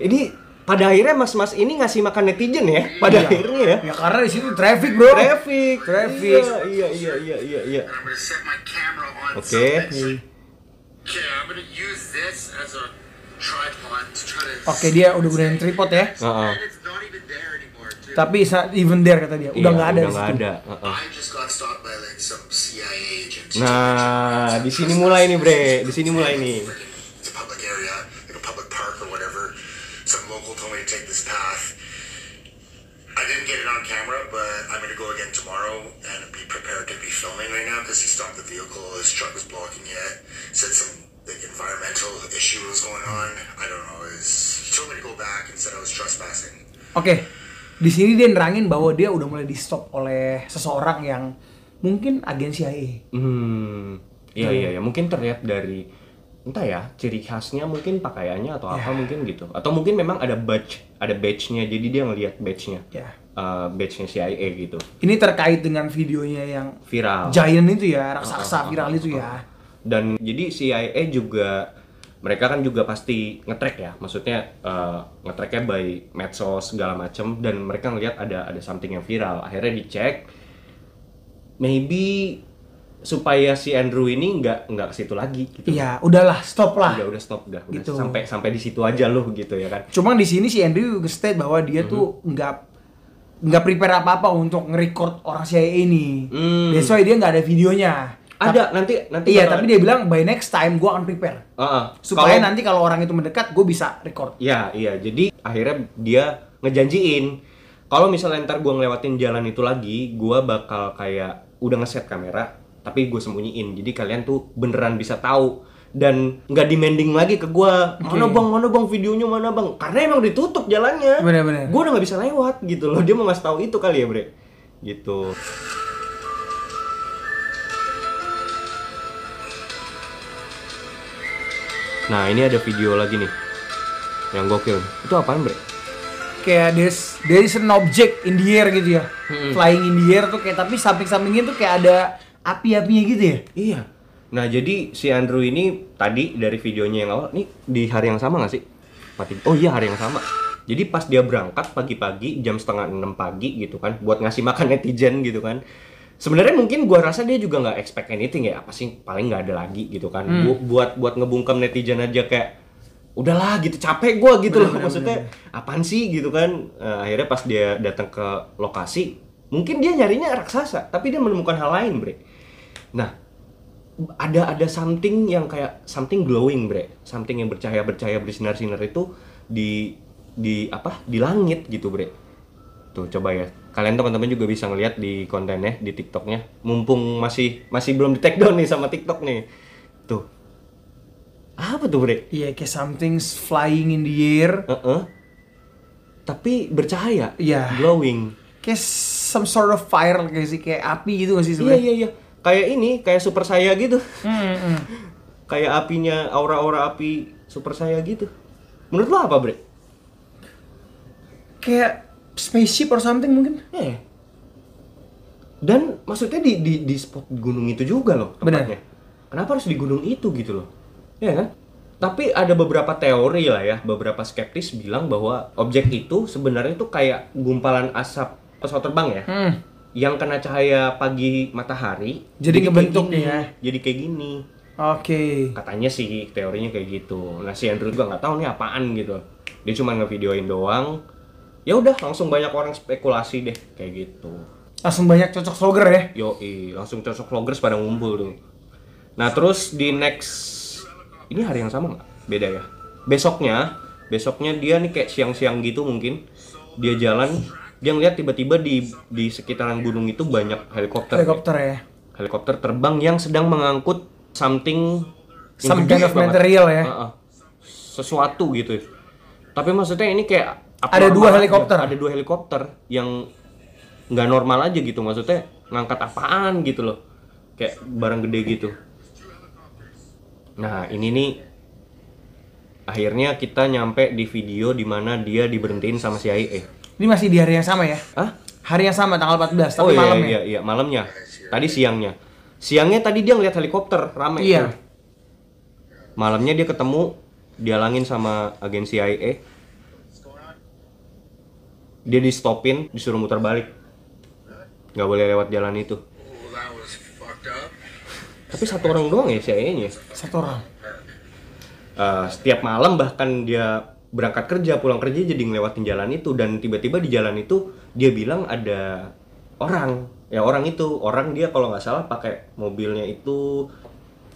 [SPEAKER 2] ini pada akhirnya mas-mas ini ngasih makan netizen ya pada
[SPEAKER 1] Iya.
[SPEAKER 2] akhirnya ya
[SPEAKER 1] Ya karena di situ traffic, Bro.
[SPEAKER 2] traffic
[SPEAKER 1] Traffic.
[SPEAKER 2] iya iya iya iya iya
[SPEAKER 3] And I'm gonna set my camera on
[SPEAKER 2] oke
[SPEAKER 3] something. Okay, I'm gonna use this as a tripod to try to.
[SPEAKER 1] Oke, dia udah gunain tripod ya.
[SPEAKER 2] Uh-uh.
[SPEAKER 3] And it's not even there anymore, too.
[SPEAKER 1] Tapi it's not even there kata dia. Udah
[SPEAKER 2] Iya,
[SPEAKER 1] nggak ada
[SPEAKER 2] udah
[SPEAKER 1] di
[SPEAKER 2] nggak
[SPEAKER 1] situ.
[SPEAKER 2] ada uh-uh.
[SPEAKER 3] I just got stopped by like some CIA agent.
[SPEAKER 2] Nah, di sini mulai nih, Bre. Di sini mulai nih.
[SPEAKER 3] It's a public area, like a public park or whatever. Some local told me to take this path. I didn't get it on camera, but I'm gonna go again tomorrow and be prepared to be filming right now because he stopped the vehicle. His truck was blocking it. Said some like, environmental issue was going on. I don't know. Is he told me to go back and said I was trespassing.
[SPEAKER 1] Oke. Di sini dia nerangin bahwa dia udah mulai di stop oleh seseorang yang mungkin E. agen CIA.
[SPEAKER 2] Hmm, iya iya ya. Mungkin terlihat dari entah ya ciri khasnya mungkin pakaiannya atau
[SPEAKER 1] Ya.
[SPEAKER 2] apa mungkin gitu. Atau mungkin memang ada badge, ada badge-nya. Jadi dia ngelihat badge-nya.
[SPEAKER 1] Ya.
[SPEAKER 2] Eh, badge-nya CIA gitu.
[SPEAKER 1] Ini terkait dengan videonya yang
[SPEAKER 2] Viral. Ah,
[SPEAKER 1] giant itu ya, raksasa viral itu ya.
[SPEAKER 2] Dan jadi CIA juga mereka kan juga pasti ngetrack ya maksudnya eh, ngetracknya by medsos segala macem dan mereka ngelihat ada ada something yang viral akhirnya dicek maybe supaya si Andrew ini nggak nggak ke situ lagi gitu
[SPEAKER 1] Iya, udahlah, stop lah.
[SPEAKER 2] udah udah stop udah, udah
[SPEAKER 1] Gitu.
[SPEAKER 2] sampai sampai di situ aja loh gitu ya kan
[SPEAKER 1] Cuma di sini si Andrew nge-state bahwa dia tuh
[SPEAKER 2] Mm-hmm.
[SPEAKER 1] nggak nggak prepare apa-apa untuk nge-record orang CIA ini.
[SPEAKER 2] Hmm.
[SPEAKER 1] That's why dia nggak ada videonya.
[SPEAKER 2] ada nanti nanti
[SPEAKER 1] Iya,
[SPEAKER 2] bakal-
[SPEAKER 1] tapi dia bilang by next time gua akan prepare.
[SPEAKER 2] Heeh.
[SPEAKER 1] Supaya
[SPEAKER 2] Kalau-
[SPEAKER 1] nanti kalau orang itu mendekat, gue bisa record.
[SPEAKER 2] Ya, iya. Jadi akhirnya dia ngejanjiin kalau misalnya ntar gua ngelewatin jalan itu lagi, gua bakal kayak udah ngeset kamera, tapi gue sembunyiin. Jadi kalian tuh beneran bisa tahu dan nggak demanding lagi ke gua mana bang mana bang videonya mana bang karena emang ditutup jalannya
[SPEAKER 1] Bener-bener.
[SPEAKER 2] gue Iya. udah nggak bisa lewat gitu loh dia mau ngasih tahu itu kali ya bre gitu nah ini ada video lagi nih yang gokil itu apaan bre
[SPEAKER 1] Kayak there's, there is an object in the air gitu ya. Flying in the air tuh kayak, tapi samping-sampingnya tuh kayak ada api-apinya gitu ya.
[SPEAKER 2] iya nah jadi si Andrew ini tadi dari videonya yang awal nih di hari yang sama nggak sih Pati- oh iya hari yang sama jadi pas dia berangkat pagi-pagi jam setengah enam pagi gitu kan buat ngasih makan netizen gitu kan sebenarnya mungkin gua rasa dia juga nggak expect anything ya apa sih paling nggak ada lagi gitu kan Bu- buat buat ngebungkam netizen aja kayak udahlah gitu capek gua gitu loh maksudnya apaan sih gitu kan Eh, akhirnya pas dia datang ke lokasi mungkin dia nyarinya raksasa tapi dia menemukan hal lain bre nah ada ada something yang kayak something glowing bre something yang bercahaya bercahaya bersinar sinar itu di di apa di langit gitu bre tuh coba ya kalian teman-teman juga bisa ngeliat di kontennya di tiktoknya mumpung masih masih belum di take down nih sama tiktok nih tuh apa tuh bre
[SPEAKER 1] Iya, kayak something's flying in the air.
[SPEAKER 2] Heeh. Tapi bercahaya.
[SPEAKER 1] Iya.
[SPEAKER 2] Glowing.
[SPEAKER 1] Kayak some sort of fire kayak sih, kayak api gitu gak sih
[SPEAKER 2] Iya
[SPEAKER 1] sebenarnya?
[SPEAKER 2] iya iya. Kayak ini, kayak super saya gitu.
[SPEAKER 1] Hmm, hmm.
[SPEAKER 2] kayak apinya aura-aura api super saya gitu. Menurut lo apa, Bre?
[SPEAKER 1] Kayak spaceship or something mungkin?
[SPEAKER 2] Eh. Dan maksudnya di, di di spot gunung itu juga loh
[SPEAKER 1] Benar.
[SPEAKER 2] tempatnya. Kenapa harus di gunung itu gitu loh? Iya kan? Tapi ada beberapa teori lah ya, beberapa skeptis bilang bahwa objek itu sebenarnya itu kayak gumpalan asap pesawat terbang ya.
[SPEAKER 1] Hmm.
[SPEAKER 2] yang kena cahaya pagi matahari
[SPEAKER 1] Jadi
[SPEAKER 2] kayak
[SPEAKER 1] ngebentuk
[SPEAKER 2] gini.
[SPEAKER 1] ya.
[SPEAKER 2] jadi kayak gini
[SPEAKER 1] Oke.
[SPEAKER 2] katanya sih teorinya kayak gitu nah si Andrew juga nggak tahu nih apaan gitu dia cuma ngevideoin doang ya udah langsung banyak orang spekulasi deh kayak gitu
[SPEAKER 1] Langsung banyak cocok slogan ya.
[SPEAKER 2] yoi langsung cocok vloggers pada ngumpul tuh nah terus di next ini hari yang sama nggak beda ya besoknya besoknya dia nih kayak siang-siang gitu mungkin dia jalan dia ngeliat tiba-tiba di di sekitaran gunung itu banyak helikopter
[SPEAKER 1] Helikopter ya.
[SPEAKER 2] helikopter terbang yang sedang mengangkut something yang
[SPEAKER 1] Some
[SPEAKER 2] gede
[SPEAKER 1] kind of
[SPEAKER 2] banget.
[SPEAKER 1] material ya.
[SPEAKER 2] Heeh. sesuatu gitu tapi maksudnya ini kayak
[SPEAKER 1] Ada
[SPEAKER 2] abnormal
[SPEAKER 1] dua
[SPEAKER 2] aja.
[SPEAKER 1] helikopter?
[SPEAKER 2] ada dua helikopter yang nggak normal aja gitu maksudnya ngangkat apaan gitu loh kayak barang gede gitu nah ini nih akhirnya kita nyampe di video dimana dia diberhentiin sama CIA
[SPEAKER 1] Ini masih di hari yang sama ya.
[SPEAKER 2] Hah?
[SPEAKER 1] Hari yang sama tanggal 14, tapi
[SPEAKER 2] oh, iya,
[SPEAKER 1] malam
[SPEAKER 2] iya,
[SPEAKER 1] ya.
[SPEAKER 2] iya, malamnya. Tadi siangnya. Siangnya tadi dia ngeliat helikopter rame.
[SPEAKER 1] Iya.
[SPEAKER 2] Malamnya dia ketemu dialangin sama agen CIA. Dia di stopin, disuruh muter balik. Nggak boleh lewat jalan itu.
[SPEAKER 3] Well, Oh, that was fucked up.
[SPEAKER 2] Tapi satu orang doang ya CIA-nya.
[SPEAKER 1] Satu orang.
[SPEAKER 2] Eh, setiap malam bahkan dia berangkat kerja pulang kerja jadi ngelewatin jalan itu dan tiba-tiba di jalan itu dia bilang ada orang ya orang itu orang dia kalau nggak salah pakai mobilnya itu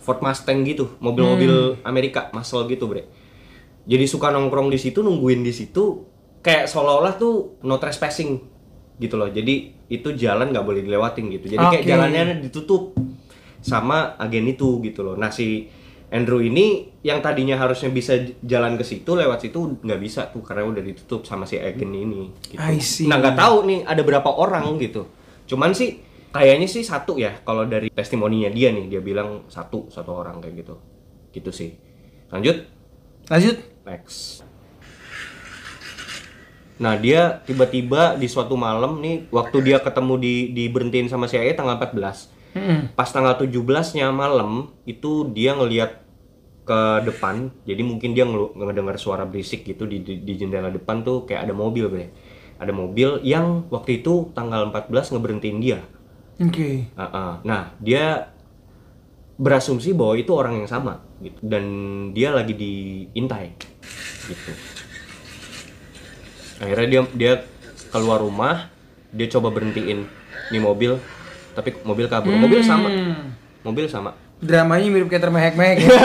[SPEAKER 2] Ford Mustang gitu mobil-mobil Amerika muscle gitu bre jadi suka nongkrong di situ nungguin di situ kayak seolah-olah tuh no trespassing gitu loh jadi itu jalan nggak boleh dilewatin gitu jadi kayak
[SPEAKER 1] Oke.
[SPEAKER 2] jalannya *laughs* ditutup sama agen itu gitu loh. Nah si Andrew ini yang tadinya harusnya bisa j- jalan ke situ lewat situ nggak bisa tuh karena udah ditutup sama si agen ini. Gitu.
[SPEAKER 1] I see.
[SPEAKER 2] Nah nggak tahu nih ada berapa orang gitu. Cuman sih kayaknya sih satu ya kalau dari testimoninya dia nih dia bilang satu satu orang kayak gitu. Gitu sih. Lanjut
[SPEAKER 1] Lanjut.
[SPEAKER 2] next. Nah dia tiba-tiba di suatu malam nih waktu dia ketemu di diberhentiin sama CIA tanggal 14
[SPEAKER 1] Hmm.
[SPEAKER 2] pas tanggal 17-nya malam itu dia ngelihat ke depan jadi mungkin dia ngelu- ngedengar suara berisik gitu di, di, di jendela depan tuh kayak ada mobil bre ada mobil yang waktu itu tanggal 14 ngeberhentiin dia
[SPEAKER 1] Oke.
[SPEAKER 2] Ah, ah. nah dia berasumsi bahwa itu orang yang sama gitu dan dia lagi diintai gitu akhirnya dia dia keluar rumah dia coba berhentiin nih mobil tapi mobil kabur mobil sama mobil sama
[SPEAKER 1] Dramanya mirip kayak termehek-mehek.
[SPEAKER 2] *laughs*
[SPEAKER 1] ya.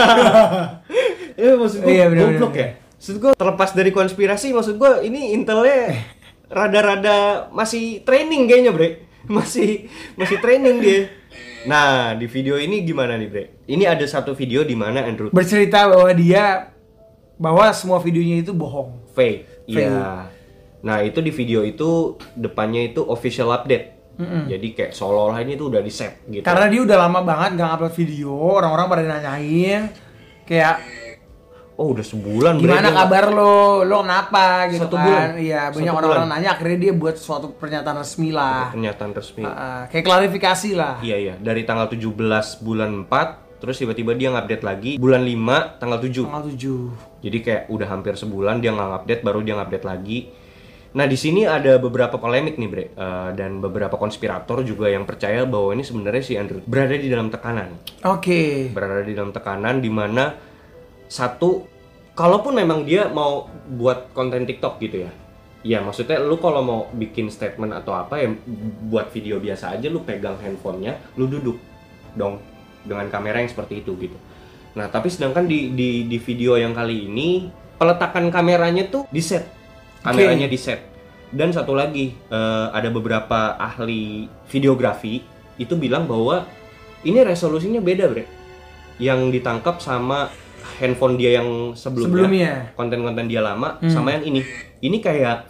[SPEAKER 2] Iya maksud gue
[SPEAKER 1] Iya, benar,
[SPEAKER 2] goblok
[SPEAKER 1] benar.
[SPEAKER 2] ya. Maksud gue terlepas dari konspirasi, maksud gue ini intelnya rada-rada masih training kayaknya bre, *laughs* masih masih training dia. Nah di video ini gimana nih bre? Ini ada satu video di mana Andrew
[SPEAKER 1] Bercerita bahwa dia bahwa semua videonya itu bohong.
[SPEAKER 2] fake.
[SPEAKER 1] Fake.
[SPEAKER 2] Iya. Nah itu di video itu depannya itu official update. Jadi kayak seolah-olah ini tuh udah di set gitu.
[SPEAKER 1] Karena dia udah lama banget nggak upload video, orang-orang pada nanyain kayak
[SPEAKER 2] oh udah sebulan bre,
[SPEAKER 1] gimana
[SPEAKER 2] dia-
[SPEAKER 1] kabar lo, lo kenapa gitu
[SPEAKER 2] Satu
[SPEAKER 1] kan?
[SPEAKER 2] bulan.
[SPEAKER 1] Iya, banyak
[SPEAKER 2] Satu
[SPEAKER 1] orang-orang
[SPEAKER 2] bulan.
[SPEAKER 1] nanya akhirnya dia buat suatu pernyataan resmi lah.
[SPEAKER 2] Pernyataan resmi.
[SPEAKER 1] Heeh, kayak klarifikasi lah.
[SPEAKER 2] Iya iya, dari tanggal 17 bulan 4 terus tiba-tiba dia ngupdate lagi bulan 5 tanggal 7.
[SPEAKER 1] Tanggal 7.
[SPEAKER 2] Jadi kayak udah hampir sebulan dia nggak update baru dia ngupdate lagi. Nah, di sini ada beberapa polemik nih, Bre. Eh, dan beberapa konspirator juga yang percaya bahwa ini sebenarnya si Andrew berada di dalam tekanan.
[SPEAKER 1] Oke.
[SPEAKER 2] Berada di dalam tekanan di mana satu kalaupun memang dia mau buat konten TikTok gitu ya. Ya, maksudnya lu kalau mau bikin statement atau apa ya buat video biasa aja lu pegang handphonenya, lu duduk dong dengan kamera yang seperti itu gitu. Nah, tapi sedangkan di di di video yang kali ini peletakan kameranya tuh di set. Kameranya di set. Dan satu lagi, eh, ada beberapa ahli videografi itu bilang bahwa ini resolusinya beda, Bre. Yang ditangkap sama handphone dia yang sebelumnya
[SPEAKER 1] Sebelumnya.
[SPEAKER 2] konten-konten dia lama
[SPEAKER 1] Hmm.
[SPEAKER 2] sama yang ini. Ini kayak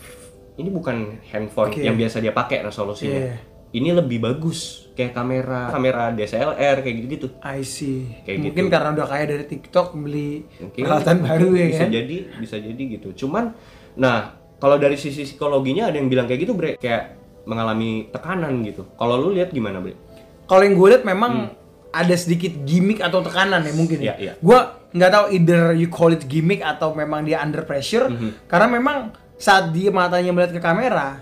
[SPEAKER 2] ini bukan handphone
[SPEAKER 1] Oke.
[SPEAKER 2] yang biasa dia pakai resolusinya.
[SPEAKER 1] Iya.
[SPEAKER 2] Ini lebih bagus kayak kamera kamera DSLR kayak gitu-gitu.
[SPEAKER 1] I see.
[SPEAKER 2] Kayak
[SPEAKER 1] Mungkin
[SPEAKER 2] gitu.
[SPEAKER 1] karena udah kaya dari TikTok beli
[SPEAKER 2] Mungkin
[SPEAKER 1] peralatan baru ya
[SPEAKER 2] bisa
[SPEAKER 1] kan.
[SPEAKER 2] jadi bisa jadi gitu. Cuman nah, kalau dari sisi psikologinya ada yang bilang kayak gitu, Bre, kayak mengalami tekanan gitu. Kalau lu lihat gimana, Bre?
[SPEAKER 1] Kalau yang gue lihat memang ada sedikit gimmick atau tekanan ya mungkin ya.
[SPEAKER 2] Hmm. Iya, iya.
[SPEAKER 1] Gue nggak tahu either you call it gimmick atau memang dia under pressure
[SPEAKER 2] Hmm.
[SPEAKER 1] karena memang saat dia matanya melihat ke kamera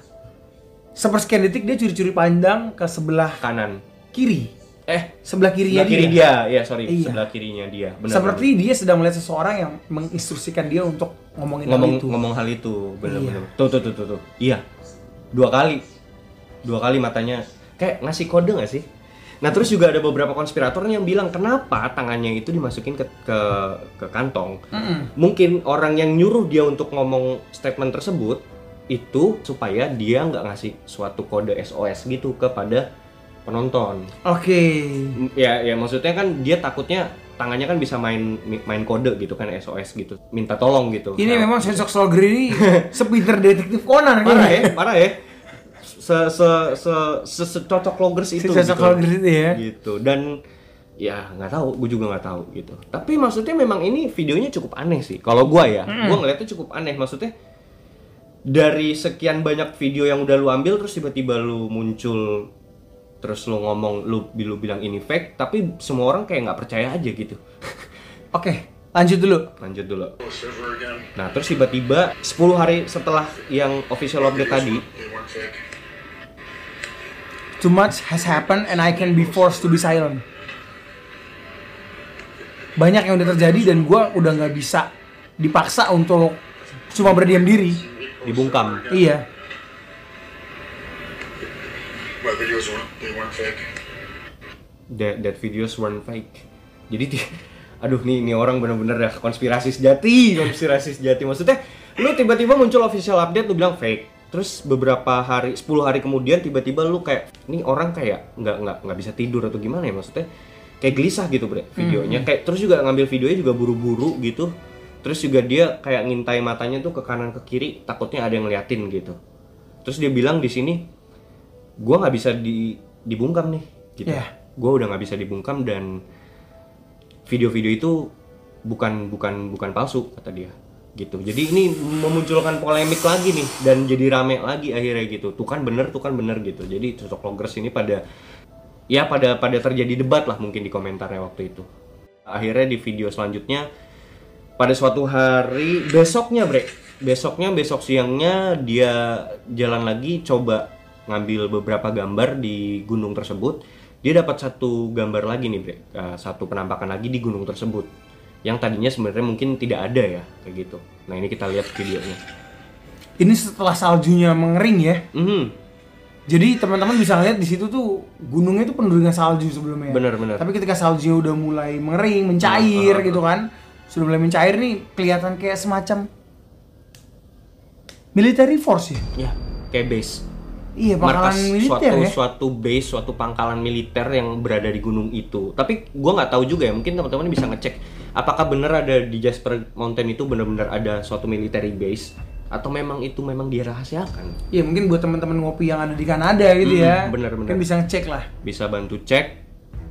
[SPEAKER 1] sepersekian detik dia curi-curi pandang ke sebelah
[SPEAKER 2] Kanan.
[SPEAKER 1] kiri,
[SPEAKER 2] Eh,
[SPEAKER 1] sebelah kirinya
[SPEAKER 2] sebelah kiri
[SPEAKER 1] dia.
[SPEAKER 2] dia. Ya, sorry,
[SPEAKER 1] Iya.
[SPEAKER 2] sebelah kirinya dia. Benar.
[SPEAKER 1] Seperti dia sedang melihat seseorang yang menginstruksikan dia untuk ngomongin hal
[SPEAKER 2] ngomong
[SPEAKER 1] itu.
[SPEAKER 2] ngomong hal itu
[SPEAKER 1] Iya.
[SPEAKER 2] benar-benar tuh tuh tuh tuh tuh iya dua kali dua kali matanya kayak ngasih kode nggak sih nah terus juga ada beberapa konspirator yang bilang kenapa tangannya itu dimasukin ke ke, ke kantong mungkin orang yang nyuruh dia untuk ngomong statement tersebut itu supaya dia nggak ngasih suatu kode SOS gitu kepada penonton
[SPEAKER 1] Oke.
[SPEAKER 2] ya ya maksudnya kan dia takutnya tangannya kan bisa main main kode gitu kan SOS gitu minta tolong gitu
[SPEAKER 1] Ini
[SPEAKER 2] Nah,
[SPEAKER 1] memang sosok Solgri
[SPEAKER 2] *laughs*
[SPEAKER 1] ini sepinter detektif Conan
[SPEAKER 2] parah
[SPEAKER 1] kayaknya.
[SPEAKER 2] ya parah ya se se se se, se cocok loggers itu
[SPEAKER 1] sosok
[SPEAKER 2] gitu.
[SPEAKER 1] Solgri itu ya.
[SPEAKER 2] gitu dan ya nggak tahu gue juga nggak tahu gitu tapi maksudnya memang ini videonya cukup aneh sih kalau gua ya gua ngeliatnya cukup aneh maksudnya dari sekian banyak video yang udah lu ambil terus tiba-tiba lu muncul terus lu ngomong lu, lu bilang ini fake tapi semua orang kayak nggak percaya aja gitu *laughs*
[SPEAKER 1] Oke, lanjut dulu.
[SPEAKER 2] lanjut dulu
[SPEAKER 3] Oh, server again.
[SPEAKER 2] nah terus tiba-tiba 10 hari setelah yang official update tadi
[SPEAKER 3] They weren't fake.
[SPEAKER 1] Too much has happened and I can be forced to be silent. Banyak yang udah terjadi dan gua udah nggak bisa dipaksa untuk cuma berdiam diri.
[SPEAKER 2] dibungkam
[SPEAKER 1] Iya.
[SPEAKER 3] My videos weren't. They weren't fake.
[SPEAKER 2] that that videos weren't fake. Jadi ti- *laughs* aduh nih ini orang bener-bener dah konspirasi sejati, *laughs* konspirasi sejati. Maksudnya lu tiba-tiba muncul official update lu bilang fake. Terus beberapa hari 10 hari kemudian tiba-tiba lu kayak nih orang kayak nggak nggak nggak bisa tidur atau gimana ya maksudnya kayak gelisah gitu bre videonya kayak terus juga ngambil videonya juga buru-buru gitu terus juga dia kayak ngintai matanya tuh ke kanan ke kiri takutnya ada yang ngeliatin gitu terus dia bilang di sini gue nggak bisa di dibungkam nih gitu
[SPEAKER 1] Iya.
[SPEAKER 2] gue udah nggak bisa dibungkam dan video-video itu bukan bukan bukan palsu kata dia gitu jadi ini memunculkan polemik lagi nih dan jadi rame lagi akhirnya gitu tuh kan bener tuh kan bener gitu jadi cocok loggers ini pada ya pada pada terjadi debat lah mungkin di komentarnya waktu itu akhirnya di video selanjutnya pada suatu hari besoknya bre besoknya besok siangnya dia jalan lagi coba ngambil beberapa gambar di gunung tersebut dia dapat satu gambar lagi nih bre Eh, satu penampakan lagi di gunung tersebut yang tadinya sebenarnya mungkin tidak ada ya kayak gitu nah ini kita lihat videonya
[SPEAKER 1] Ini setelah saljunya mengering ya.
[SPEAKER 2] Mhm.
[SPEAKER 1] Jadi teman-teman bisa lihat di situ tuh gunungnya tuh penuh dengan salju sebelumnya.
[SPEAKER 2] Bener, bener.
[SPEAKER 1] Tapi ketika saljunya udah mulai mengering, mencair
[SPEAKER 2] Nah,
[SPEAKER 1] gitu kan, sudah mulai mencair nih kelihatan kayak semacam military force ya.
[SPEAKER 2] ya kayak base
[SPEAKER 1] Iya
[SPEAKER 2] markas
[SPEAKER 1] bakalan militer
[SPEAKER 2] suatu
[SPEAKER 1] ya.
[SPEAKER 2] suatu base suatu pangkalan militer yang berada di gunung itu tapi gua nggak tahu juga ya mungkin teman-teman bisa ngecek apakah bener ada di Jasper Mountain itu benar-benar ada suatu military base atau memang itu memang dirahasiakan
[SPEAKER 1] Iya mungkin buat teman-teman ngopi yang ada di Kanada gitu
[SPEAKER 2] Mm,
[SPEAKER 1] ya.
[SPEAKER 2] bener, bener.
[SPEAKER 1] Kan bisa ngecek lah.
[SPEAKER 2] bisa bantu cek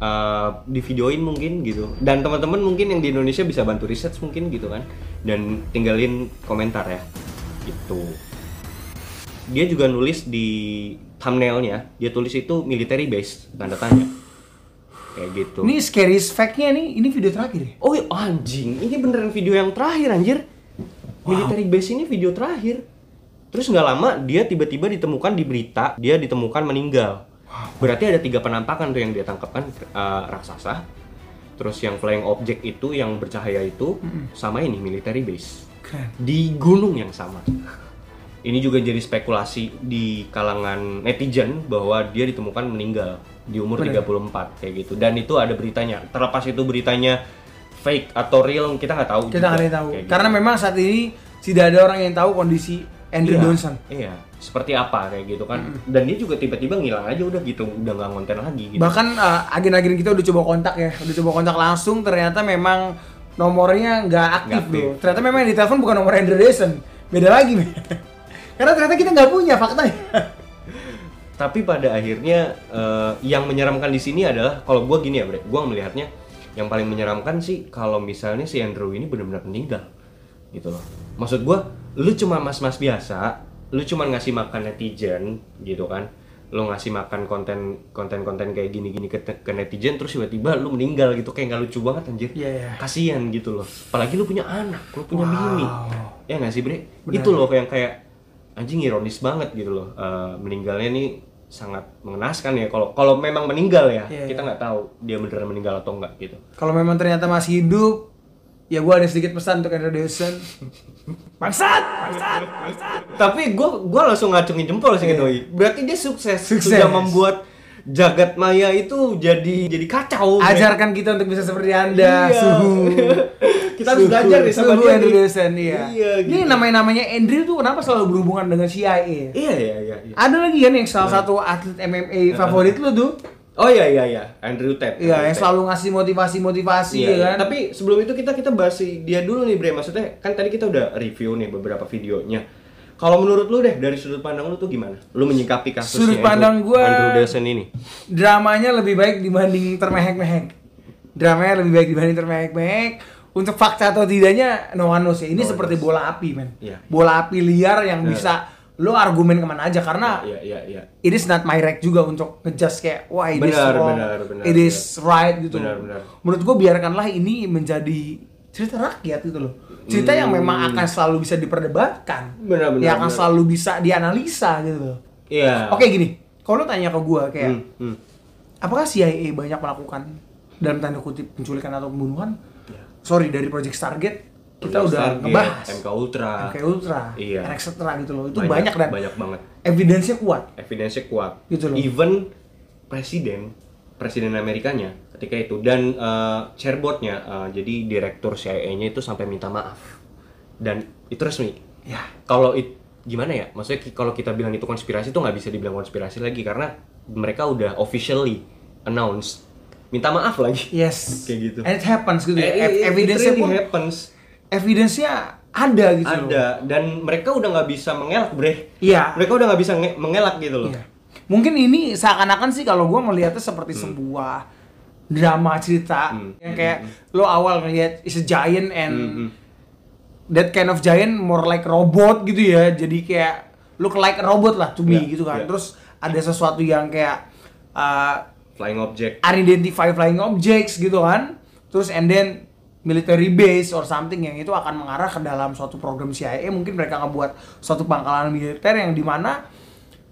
[SPEAKER 2] eh, di videoin mungkin gitu dan teman-teman mungkin yang di Indonesia bisa bantu riset mungkin gitu kan dan tinggalin komentar ya gitu dia juga nulis di thumbnailnya dia tulis itu military base tanda tanya kayak gitu
[SPEAKER 1] Ini scariest fact-nya nih, ini video terakhir ya.
[SPEAKER 2] oh iya, anjing ini beneran video yang terakhir anjir military base ini video terakhir terus nggak lama dia tiba-tiba ditemukan di berita dia ditemukan meninggal berarti ada tiga penampakan tuh yang dia tangkap kan eh, raksasa terus yang flying object itu yang bercahaya itu sama ini military base
[SPEAKER 1] Keren.
[SPEAKER 2] di gunung yang sama. Ini juga jadi spekulasi di kalangan netizen bahwa dia ditemukan meninggal di umur
[SPEAKER 1] Bener.
[SPEAKER 2] 34 kayak gitu. Dan itu ada beritanya. Terlepas itu beritanya fake atau real kita nggak tahu.
[SPEAKER 1] Kita
[SPEAKER 2] juga.
[SPEAKER 1] nggak ada yang tahu.
[SPEAKER 2] Kayak gitu.
[SPEAKER 1] Karena memang saat ini tidak ada orang yang tahu kondisi Andrew
[SPEAKER 2] Iya,
[SPEAKER 1] Johnson.
[SPEAKER 2] Iya. Seperti apa kayak gitu kan. Dan dia juga tiba-tiba ngilang aja udah gitu, udah nggak ngonten lagi gitu.
[SPEAKER 1] Bahkan eh, agen-agen kita udah coba kontak ya, udah coba kontak langsung ternyata memang nomornya nggak aktif
[SPEAKER 2] Nggak aktif.
[SPEAKER 1] loh. Ternyata memang yang ditelepon bukan nomor Andrew Johnson. Beda lagi. men. *laughs* Karena ternyata kita nggak punya faktanya. *laughs*
[SPEAKER 2] tapi pada akhirnya eh, yang menyeramkan di sini adalah kalau gua gini ya bre gue melihatnya yang paling menyeramkan sih kalau misalnya si Andrew ini benar-benar meninggal gitu loh maksud gua lu cuma mas-mas biasa lu cuma ngasih makan netizen gitu kan lu ngasih makan konten konten konten kayak gini-gini ke, ke netizen terus tiba-tiba lu meninggal gitu kayak nggak lucu banget anjir
[SPEAKER 1] Iya, iya.
[SPEAKER 2] kasihan gitu loh apalagi lu punya anak lu punya
[SPEAKER 1] Wow.
[SPEAKER 2] bini ya nggak sih bre
[SPEAKER 1] Benar.
[SPEAKER 2] itu loh yang kayak anjing ironis banget gitu loh Eh, meninggalnya ini sangat mengenaskan ya kalau kalau memang meninggal ya
[SPEAKER 1] Iya,
[SPEAKER 2] kita
[SPEAKER 1] iya.
[SPEAKER 2] nggak tahu dia beneran meninggal atau enggak gitu
[SPEAKER 1] Kalau memang ternyata masih hidup, ya gua ada sedikit pesan untuk Andrew Johnson. *laughs* Bangsat! Bangsat! Bangsat!
[SPEAKER 2] tapi gue gua langsung ngacungin jempol sih gitu berarti dia sukses,
[SPEAKER 1] Iya. Sukses.
[SPEAKER 2] sudah membuat jagat maya itu jadi jadi kacau Bre.
[SPEAKER 1] Ajarkan kita untuk bisa seperti Anda,
[SPEAKER 2] Iya.
[SPEAKER 1] suhu.
[SPEAKER 2] *laughs* Kita harus
[SPEAKER 1] Suhu.
[SPEAKER 2] belajar nih sama
[SPEAKER 1] Suhu
[SPEAKER 2] dia
[SPEAKER 1] Andrew
[SPEAKER 2] nih.
[SPEAKER 1] Johnson, iya.
[SPEAKER 2] Iya,
[SPEAKER 1] Ini
[SPEAKER 2] gitu.
[SPEAKER 1] namanya-namanya Andrew tuh kenapa selalu berhubungan dengan CIA?
[SPEAKER 2] iya iya iya iya.
[SPEAKER 1] Ada lagi kan yang salah satu atlet MMA favorit lu tuh,
[SPEAKER 2] oh iya iya iya Andrew Tate Andrew
[SPEAKER 1] ya yang
[SPEAKER 2] Tate.
[SPEAKER 1] selalu ngasih motivasi-motivasi ya
[SPEAKER 2] Iya, iya.
[SPEAKER 1] kan.
[SPEAKER 2] Tapi sebelum itu kita kita bahas si dia dulu nih Bre. Maksudnya kan tadi kita udah review nih beberapa videonya. Kalau menurut lu deh dari sudut pandang lu tuh gimana? Lu menyikapi kasus
[SPEAKER 1] Sudut
[SPEAKER 2] si
[SPEAKER 1] pandang
[SPEAKER 2] Andrew,
[SPEAKER 1] gua-
[SPEAKER 2] Andrew Dawson ini.
[SPEAKER 1] dramanya lebih baik dibanding termehek-mehek. Dramanya lebih baik dibanding termehek-mehek. Untuk fakta atau tidaknya no one knows ya. Ini
[SPEAKER 2] No one
[SPEAKER 1] seperti
[SPEAKER 2] knows.
[SPEAKER 1] bola api, men.
[SPEAKER 2] Iya.
[SPEAKER 1] Bola api liar yang
[SPEAKER 2] Iya.
[SPEAKER 1] bisa lo argumen kemana aja karena
[SPEAKER 2] Iya, iya, iya.
[SPEAKER 1] it is not my right juga untuk ngejudge kayak wah it is
[SPEAKER 2] Benar,
[SPEAKER 1] wrong,
[SPEAKER 2] benar, benar,
[SPEAKER 1] it is right gitu.
[SPEAKER 2] Benar,
[SPEAKER 1] loh.
[SPEAKER 2] benar.
[SPEAKER 1] Menurut gue biarkanlah ini menjadi cerita rakyat gitu loh. Cerita yang memang akan selalu bisa diperdebatkan.
[SPEAKER 2] Hmm. Benar, benar,
[SPEAKER 1] Yang akan
[SPEAKER 2] benar.
[SPEAKER 1] selalu bisa dianalisa gitu loh.
[SPEAKER 2] Iya.
[SPEAKER 1] Oke iya. gini, kalau lo tanya ke gue kayak
[SPEAKER 2] Hmm, hmm.
[SPEAKER 1] apakah CIA banyak melakukan dalam tanda kutip penculikan atau pembunuhan?
[SPEAKER 2] Ya.
[SPEAKER 1] Sorry dari Project Stargate kita udah
[SPEAKER 2] Target,
[SPEAKER 1] ngebahas
[SPEAKER 2] MK Ultra.
[SPEAKER 1] MK Ultra,
[SPEAKER 2] Iya.
[SPEAKER 1] etc gitu loh. Itu banyak, dan
[SPEAKER 2] banyak banget.
[SPEAKER 1] evidence-nya kuat.
[SPEAKER 2] Evidence-nya kuat.
[SPEAKER 1] Gitu loh.
[SPEAKER 2] Even presiden presiden Amerikanya ketika itu dan eh, chairboardnya eh, jadi direktur CIA-nya itu sampai minta maaf dan itu resmi
[SPEAKER 1] Ya.
[SPEAKER 2] kalau it- gimana ya maksudnya ki- kalau kita bilang itu konspirasi tuh nggak bisa dibilang konspirasi lagi karena mereka udah officially announce minta maaf lagi
[SPEAKER 1] Yes.
[SPEAKER 2] Kayak gitu.
[SPEAKER 1] And it happens gitu. ya. Ev-
[SPEAKER 2] evidence
[SPEAKER 1] evidence-nya pun
[SPEAKER 2] happens
[SPEAKER 1] evidence-nya ada gitu loh.
[SPEAKER 2] ada dan mereka udah nggak bisa mengelak bre
[SPEAKER 1] Iya.
[SPEAKER 2] mereka udah nggak bisa nge- mengelak gitu loh
[SPEAKER 1] Iya. Mungkin ini seakan-akan sih kalau gue melihatnya seperti sebuah drama cerita
[SPEAKER 2] Hmm.
[SPEAKER 1] yang kayak lo awal ngelihat is a giant and that kind of giant more like robot gitu ya. Jadi kayak look like a robot lah to me
[SPEAKER 2] Iya,
[SPEAKER 1] gitu kan.
[SPEAKER 2] iya.
[SPEAKER 1] Terus ada sesuatu yang kayak uh,
[SPEAKER 2] flying object
[SPEAKER 1] unidentified flying objects gitu kan. terus and then military base or something yang itu akan mengarah ke dalam suatu program CIA mungkin mereka ngebuat suatu pangkalan militer yang dimana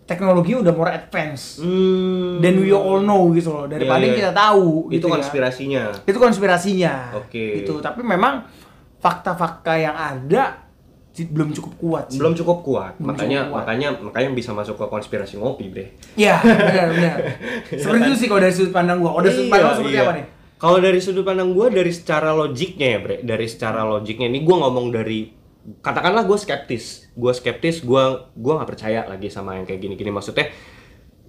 [SPEAKER 1] teknologinya udah more advance
[SPEAKER 2] Hmm.
[SPEAKER 1] dan we all know gitu loh daripada
[SPEAKER 2] Iya, iya.
[SPEAKER 1] kita tahu
[SPEAKER 2] itu
[SPEAKER 1] gitu ya.
[SPEAKER 2] konspirasinya.
[SPEAKER 1] itu konspirasinya
[SPEAKER 2] Oke.
[SPEAKER 1] gitu tapi memang fakta-fakta yang ada si- belum cukup kuat sih.
[SPEAKER 2] Belum cukup kuat.
[SPEAKER 1] Belum cukup
[SPEAKER 2] makanya
[SPEAKER 1] kuat.
[SPEAKER 2] makanya makanya bisa masuk ke konspirasi ngopi, Bre.
[SPEAKER 1] ya benar
[SPEAKER 2] *laughs*
[SPEAKER 1] benar seperti itu sih kalau dari sudut pandang gua kalau Oh, dari sudut
[SPEAKER 2] Iya,
[SPEAKER 1] pandang lu seperti
[SPEAKER 2] iya.
[SPEAKER 1] apa nih
[SPEAKER 2] Kalau dari sudut pandang gue, dari secara logiknya ya, Bre. Dari secara logiknya, ini gue ngomong dari katakanlah gue skeptis, gue skeptis, gue gua nggak percaya lagi sama yang kayak gini-gini maksudnya.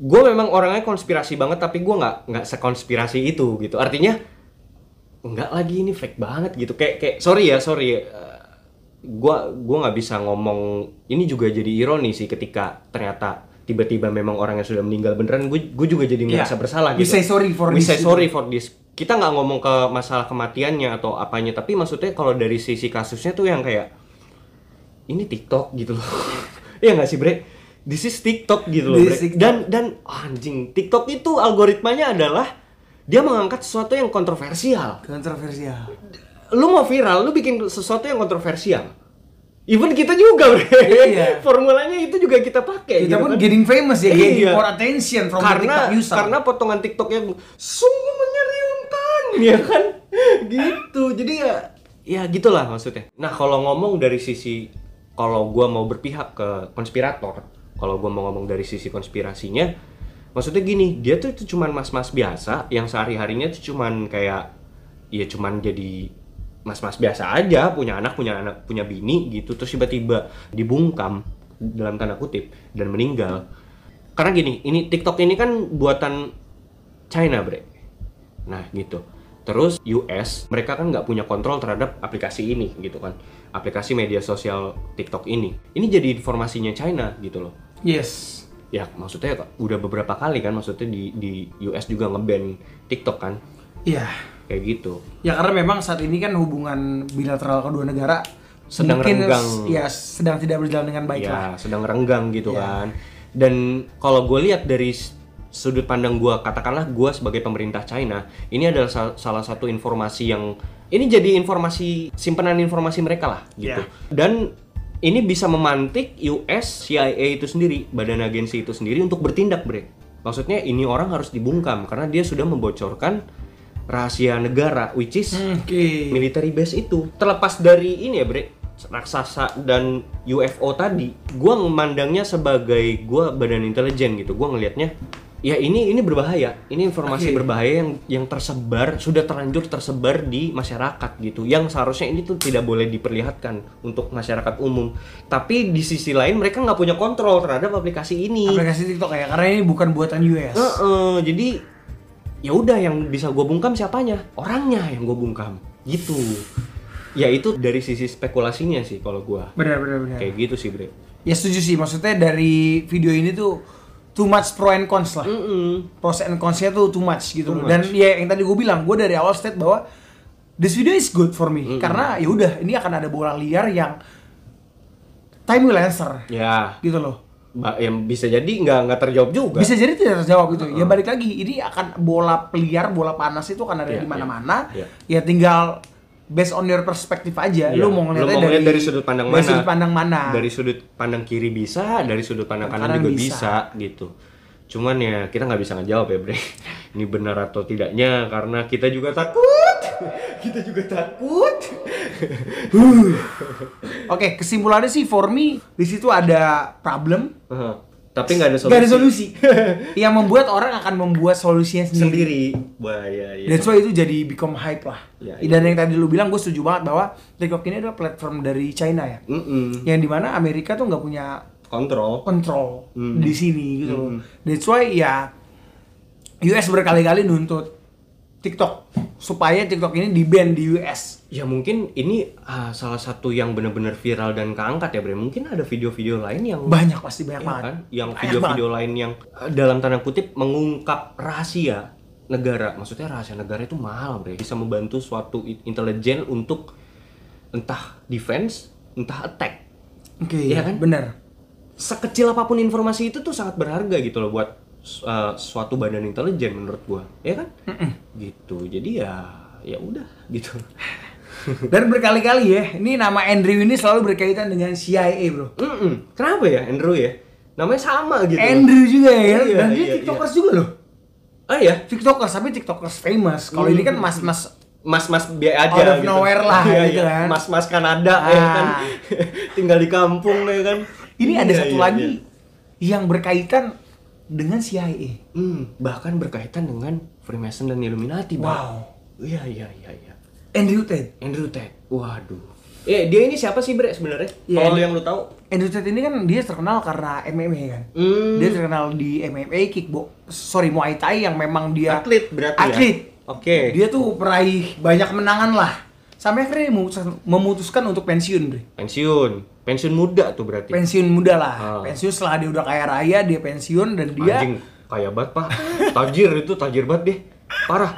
[SPEAKER 2] Gue memang orangnya konspirasi banget, tapi gue nggak nggak sekonspirasi itu gitu. Artinya nggak lagi ini fake banget gitu. Kayak kayak sorry ya sorry. eh, gua gua nggak bisa ngomong ini juga jadi ironi sih ketika ternyata tiba-tiba memang orang yang sudah meninggal beneran gue gue juga jadi
[SPEAKER 1] Iya.
[SPEAKER 2] ngerasa bersalah
[SPEAKER 1] We
[SPEAKER 2] gitu.
[SPEAKER 1] say sorry for
[SPEAKER 2] We
[SPEAKER 1] this
[SPEAKER 2] say
[SPEAKER 1] gitu.
[SPEAKER 2] sorry for this. Kita nggak ngomong ke masalah kematiannya atau apanya, tapi maksudnya kalau dari sisi kasusnya tuh yang kayak ini TikTok gitu loh. *laughs* Iya nggak sih, Bre? This is TikTok gitu loh,
[SPEAKER 1] This is
[SPEAKER 2] Bre.
[SPEAKER 1] TikTok.
[SPEAKER 2] Dan dan oh, anjing, TikTok itu algoritmanya adalah dia mengangkat sesuatu yang kontroversial.
[SPEAKER 1] kontroversial
[SPEAKER 2] Lu mau viral, lu bikin sesuatu yang kontroversial. Even kita juga, Bre.
[SPEAKER 1] Iya.
[SPEAKER 2] *laughs* Formulanya itu juga kita pakai.
[SPEAKER 1] kita
[SPEAKER 2] gitu
[SPEAKER 1] pun
[SPEAKER 2] kan.
[SPEAKER 1] getting famous ya getting
[SPEAKER 2] Iya.
[SPEAKER 1] more attention from the
[SPEAKER 2] karena
[SPEAKER 1] TikTok user
[SPEAKER 2] karena potongan TikToknya sungguh menyeriumkan *laughs* ya kan gitu jadi ya ya gitulah maksudnya nah kalau ngomong dari sisi kalau gua mau berpihak ke konspirator kalau gua mau ngomong dari sisi konspirasinya maksudnya gini dia tuh, tuh cuman mas-mas biasa yang sehari-harinya tuh cuman kayak ya cuman jadi mas-mas biasa aja punya anak punya anak punya bini gitu terus tiba-tiba dibungkam dalam tanda kutip dan meninggal karena gini ini TikTok ini kan buatan China bre nah gitu terus US mereka kan nggak punya kontrol terhadap aplikasi ini gitu kan aplikasi media sosial TikTok ini ini jadi informasinya China gitu loh
[SPEAKER 1] yes
[SPEAKER 2] ya maksudnya udah beberapa kali kan maksudnya di di US juga ngeban TikTok kan
[SPEAKER 1] iya
[SPEAKER 2] kayak gitu
[SPEAKER 1] ya karena memang saat ini kan hubungan bilateral kedua negara
[SPEAKER 2] Sedang
[SPEAKER 1] mungkin
[SPEAKER 2] renggang.
[SPEAKER 1] s- ya sedang tidak berjalan dengan baik lah
[SPEAKER 2] ya sedang renggang gitu
[SPEAKER 1] Iya.
[SPEAKER 2] kan dan kalau gue lihat dari s- sudut pandang gue katakanlah gue sebagai pemerintah China ini adalah sa- salah satu informasi yang ini jadi informasi simpenan informasi mereka lah
[SPEAKER 1] Iya.
[SPEAKER 2] gitu dan ini bisa memantik US CIA itu sendiri badan agensi itu sendiri untuk bertindak bre maksudnya ini orang harus dibungkam karena dia sudah membocorkan rahasia negara which is
[SPEAKER 1] oke
[SPEAKER 2] military base itu terlepas dari ini ya bre raksasa dan UFO tadi gua memandangnya sebagai gua badan intelijen gitu gua ngelihatnya ya ini ini berbahaya ini informasi
[SPEAKER 1] Oke.
[SPEAKER 2] berbahaya yang yang tersebar sudah terlanjur tersebar di masyarakat gitu yang seharusnya ini tuh tidak boleh diperlihatkan untuk masyarakat umum tapi di sisi lain mereka nggak punya kontrol terhadap aplikasi ini
[SPEAKER 1] aplikasi TikTok ya karena ini bukan buatan US
[SPEAKER 2] Heeh, jadi ya udah yang bisa gue bungkam siapanya orangnya yang gue bungkam gitu ya itu dari sisi spekulasinya sih kalau gue
[SPEAKER 1] benar benar benar
[SPEAKER 2] kayak gitu sih bre
[SPEAKER 1] ya setuju sih maksudnya dari video ini tuh too much pro and cons lah
[SPEAKER 2] Mm-mm.
[SPEAKER 1] pros and consnya tuh too much gitu
[SPEAKER 2] Too
[SPEAKER 1] loh.
[SPEAKER 2] much.
[SPEAKER 1] dan ya yang tadi gue bilang gue dari awal state bahwa this video is good for me karena ya udah ini akan ada bola liar yang time will answer
[SPEAKER 2] ya
[SPEAKER 1] gitu loh
[SPEAKER 2] ba- yang bisa jadi nggak nggak terjawab juga
[SPEAKER 1] bisa jadi tidak terjawab gitu ya balik lagi ini akan bola liar bola panas itu akan ada
[SPEAKER 2] Iya,
[SPEAKER 1] di mana-mana
[SPEAKER 2] iya,
[SPEAKER 1] ya tinggal based on your perspective aja
[SPEAKER 2] Iya.
[SPEAKER 1] lu mau ngeliatnya
[SPEAKER 2] Lu mau ngeliat dari sudut pandang
[SPEAKER 1] dari
[SPEAKER 2] mana?
[SPEAKER 1] sudut pandang mana *laughs*
[SPEAKER 2] dari sudut pandang kiri bisa dari sudut pandang kanan,
[SPEAKER 1] Kanan
[SPEAKER 2] juga
[SPEAKER 1] bisa.
[SPEAKER 2] bisa. gitu cuman ya kita nggak bisa ngejawab ya bre *laughs* ini benar atau tidaknya karena kita juga takut *laughs* kita juga takut *laughs*
[SPEAKER 1] Oke, kesimpulannya sih for me di situ ada problem,
[SPEAKER 2] Heeh. tapi nggak ada solusi
[SPEAKER 1] gak ada solusi. yang membuat orang akan membuat solusinya sendiri.
[SPEAKER 2] sendiri bahaya ya
[SPEAKER 1] That's why itu jadi become hype lah.
[SPEAKER 2] Ya,
[SPEAKER 1] Dan yang tadi lu bilang gue setuju banget bahwa TikTok ini adalah platform dari China ya.
[SPEAKER 2] Hmm. Mm-mm.
[SPEAKER 1] Yang dimana Amerika tuh nggak punya
[SPEAKER 2] kontrol
[SPEAKER 1] kontrol
[SPEAKER 2] Hmm.
[SPEAKER 1] di sini gitu. loh.
[SPEAKER 2] Hmm.
[SPEAKER 1] That's why ya US berkali-kali nuntut TikTok supaya TikTok ini di ban di US.
[SPEAKER 2] ya mungkin ini ah, salah satu yang benar-benar viral dan keangkat ya Bre mungkin ada video-video lain yang
[SPEAKER 1] Banyak pasti banyak
[SPEAKER 2] ya
[SPEAKER 1] banget.
[SPEAKER 2] kan? yang
[SPEAKER 1] Banyak
[SPEAKER 2] video-video lain yang ah, dalam tanda kutip mengungkap rahasia negara maksudnya rahasia negara itu mahal Bre bisa membantu suatu i- intelijen untuk entah defense entah attack
[SPEAKER 1] banget. Oke,
[SPEAKER 2] Iya kan?
[SPEAKER 1] bener.
[SPEAKER 2] sekecil apapun informasi itu tuh sangat berharga gitu loh eh, buat uh, suatu badan intelijen menurut gua ya kan gitu Iya jadi ya ya udah gitu
[SPEAKER 1] Dan berkali-kali ya, ini nama Andrew ini selalu berkaitan dengan CIA bro.
[SPEAKER 2] Mm-mm. kenapa ya Andrew ya namanya sama gitu
[SPEAKER 1] Andrew juga ya, kan?
[SPEAKER 2] Iya,
[SPEAKER 1] dan dia
[SPEAKER 2] iya,
[SPEAKER 1] tiktokers juga loh.
[SPEAKER 2] ah ya
[SPEAKER 1] Tiktokers tapi tiktokers famous. Kalau ini kan mas-mas
[SPEAKER 2] mas-mas B aja
[SPEAKER 1] Out of nowhere lah,
[SPEAKER 2] Iya,
[SPEAKER 1] gitu
[SPEAKER 2] iya.
[SPEAKER 1] kan.
[SPEAKER 2] mas-mas Kanada ya kan *laughs*
[SPEAKER 1] Ah.
[SPEAKER 2] tinggal di kampung ya kan
[SPEAKER 1] ini ada
[SPEAKER 2] Iya,
[SPEAKER 1] satu
[SPEAKER 2] iya,
[SPEAKER 1] lagi
[SPEAKER 2] iya.
[SPEAKER 1] yang berkaitan dengan CIA.
[SPEAKER 2] Hmm, bahkan berkaitan dengan Freemason dan Illuminati
[SPEAKER 1] Wow.
[SPEAKER 2] Bang. iya iya iya iya
[SPEAKER 1] Andrew Tate.
[SPEAKER 2] Andrew Tate waduh Eh, dia ini siapa sih Bre sebenarnya?
[SPEAKER 1] Iya,
[SPEAKER 2] Kalau
[SPEAKER 1] Andrew-
[SPEAKER 2] yang lu tahu?
[SPEAKER 1] Andrew Tate ini kan dia terkenal karena MMA kan.
[SPEAKER 2] Hmm.
[SPEAKER 1] Dia terkenal di MMA kickbox, sorry Muay Thai yang memang dia
[SPEAKER 2] atlet berarti ya?
[SPEAKER 1] atlet.
[SPEAKER 2] Oke.
[SPEAKER 1] Dia tuh peraih banyak kemenangan lah. Sampai akhirnya dia memutuskan, memutuskan untuk pensiun, Bre.
[SPEAKER 2] Pensiun. Pensiun muda tuh berarti.
[SPEAKER 1] Pensiun muda lah.
[SPEAKER 2] Ah.
[SPEAKER 1] Pensiun setelah dia udah kaya raya, dia pensiun dan dia
[SPEAKER 2] Anjing kaya banget, Pak. Tajir itu tajir banget deh. Parah.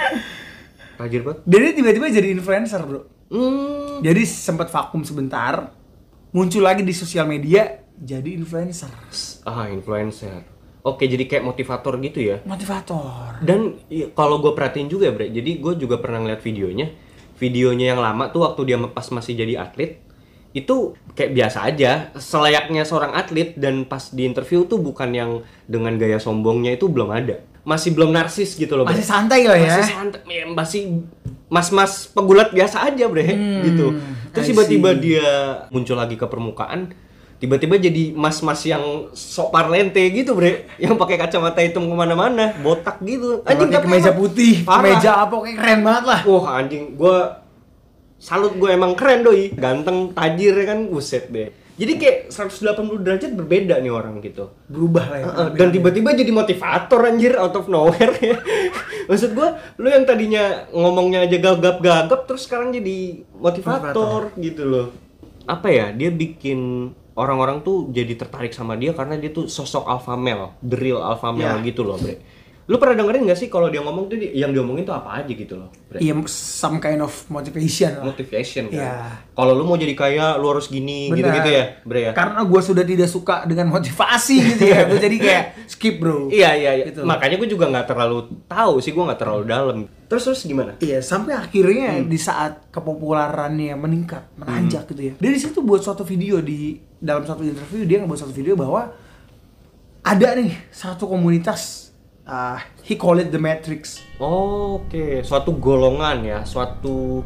[SPEAKER 2] Tajir banget.
[SPEAKER 1] dan dia tiba-tiba jadi influencer, Bro.
[SPEAKER 2] Hmm.
[SPEAKER 1] Jadi sempat vakum sebentar, muncul lagi di sosial media jadi influencer,
[SPEAKER 2] Ah, influencer. Oke, jadi kayak motivator gitu ya.
[SPEAKER 1] motivator.
[SPEAKER 2] Dan i- kalau gue perhatiin juga, Bre. Jadi gue juga pernah ngeliat videonya. Videonya yang lama tuh waktu dia pas masih jadi atlet itu kayak biasa aja, selayaknya seorang atlet dan pas di interview tuh bukan yang dengan gaya sombongnya itu belum ada. Masih belum narsis gitu loh, Bre.
[SPEAKER 1] Masih santai lah ya.
[SPEAKER 2] masih santai ya, masih mas-mas pegulat biasa aja bre gitu terus
[SPEAKER 1] Hmm, I
[SPEAKER 2] tiba-tiba
[SPEAKER 1] see.
[SPEAKER 2] dia muncul lagi ke permukaan tiba-tiba jadi mas-mas yang sok parlente gitu bre yang pakai kacamata hitam kemana-mana botak gitu
[SPEAKER 1] Anjing pakai kemeja
[SPEAKER 2] emang
[SPEAKER 1] putih,
[SPEAKER 2] parah.
[SPEAKER 1] kemeja apa kayak keren banget lah.
[SPEAKER 2] wah anjing gue salut gue emang keren doi ganteng tajir ya kan buset deh jadi kayak 180 derajat berbeda nih orang gitu
[SPEAKER 1] Berubah lah ya.
[SPEAKER 2] Heeh, dan tiba-tiba jadi motivator anjir out of nowhere ya. *laughs* Maksud gua lu yang tadinya ngomongnya aja gagap-gagap terus sekarang jadi motivator, gitu loh. Apa ya? Dia bikin orang-orang tuh jadi tertarik sama dia karena dia tuh sosok alpha male, the real alpha
[SPEAKER 1] Ya.
[SPEAKER 2] male gitu loh, Bre. Lu pernah dengerin gak sih kalau dia ngomong tuh di- yang diomongin tuh apa aja gitu loh, Bre?
[SPEAKER 1] Iya, some kind of motivation lah.
[SPEAKER 2] Motivation kan.
[SPEAKER 1] Iya.
[SPEAKER 2] Kalau lu mau jadi kaya, lu harus gini
[SPEAKER 1] Benar.
[SPEAKER 2] gitu-gitu ya, Bre ya.
[SPEAKER 1] Karena gue sudah tidak suka dengan motivasi gitu ya, gue jadi kayak skip bro.
[SPEAKER 2] Iya iya iya.
[SPEAKER 1] Gitu.
[SPEAKER 2] Makanya gue juga nggak terlalu tahu sih, gue nggak terlalu dalam. Terus terus gimana?
[SPEAKER 1] Iya, sampai akhirnya di saat kepopulerannya meningkat, menanjak gitu ya. Dia di situ buat suatu video di dalam satu interview dia ngebuat satu video bahwa ada nih satu komunitas ah, he call it the matrix
[SPEAKER 2] Oh, Oke, suatu golongan ya, suatu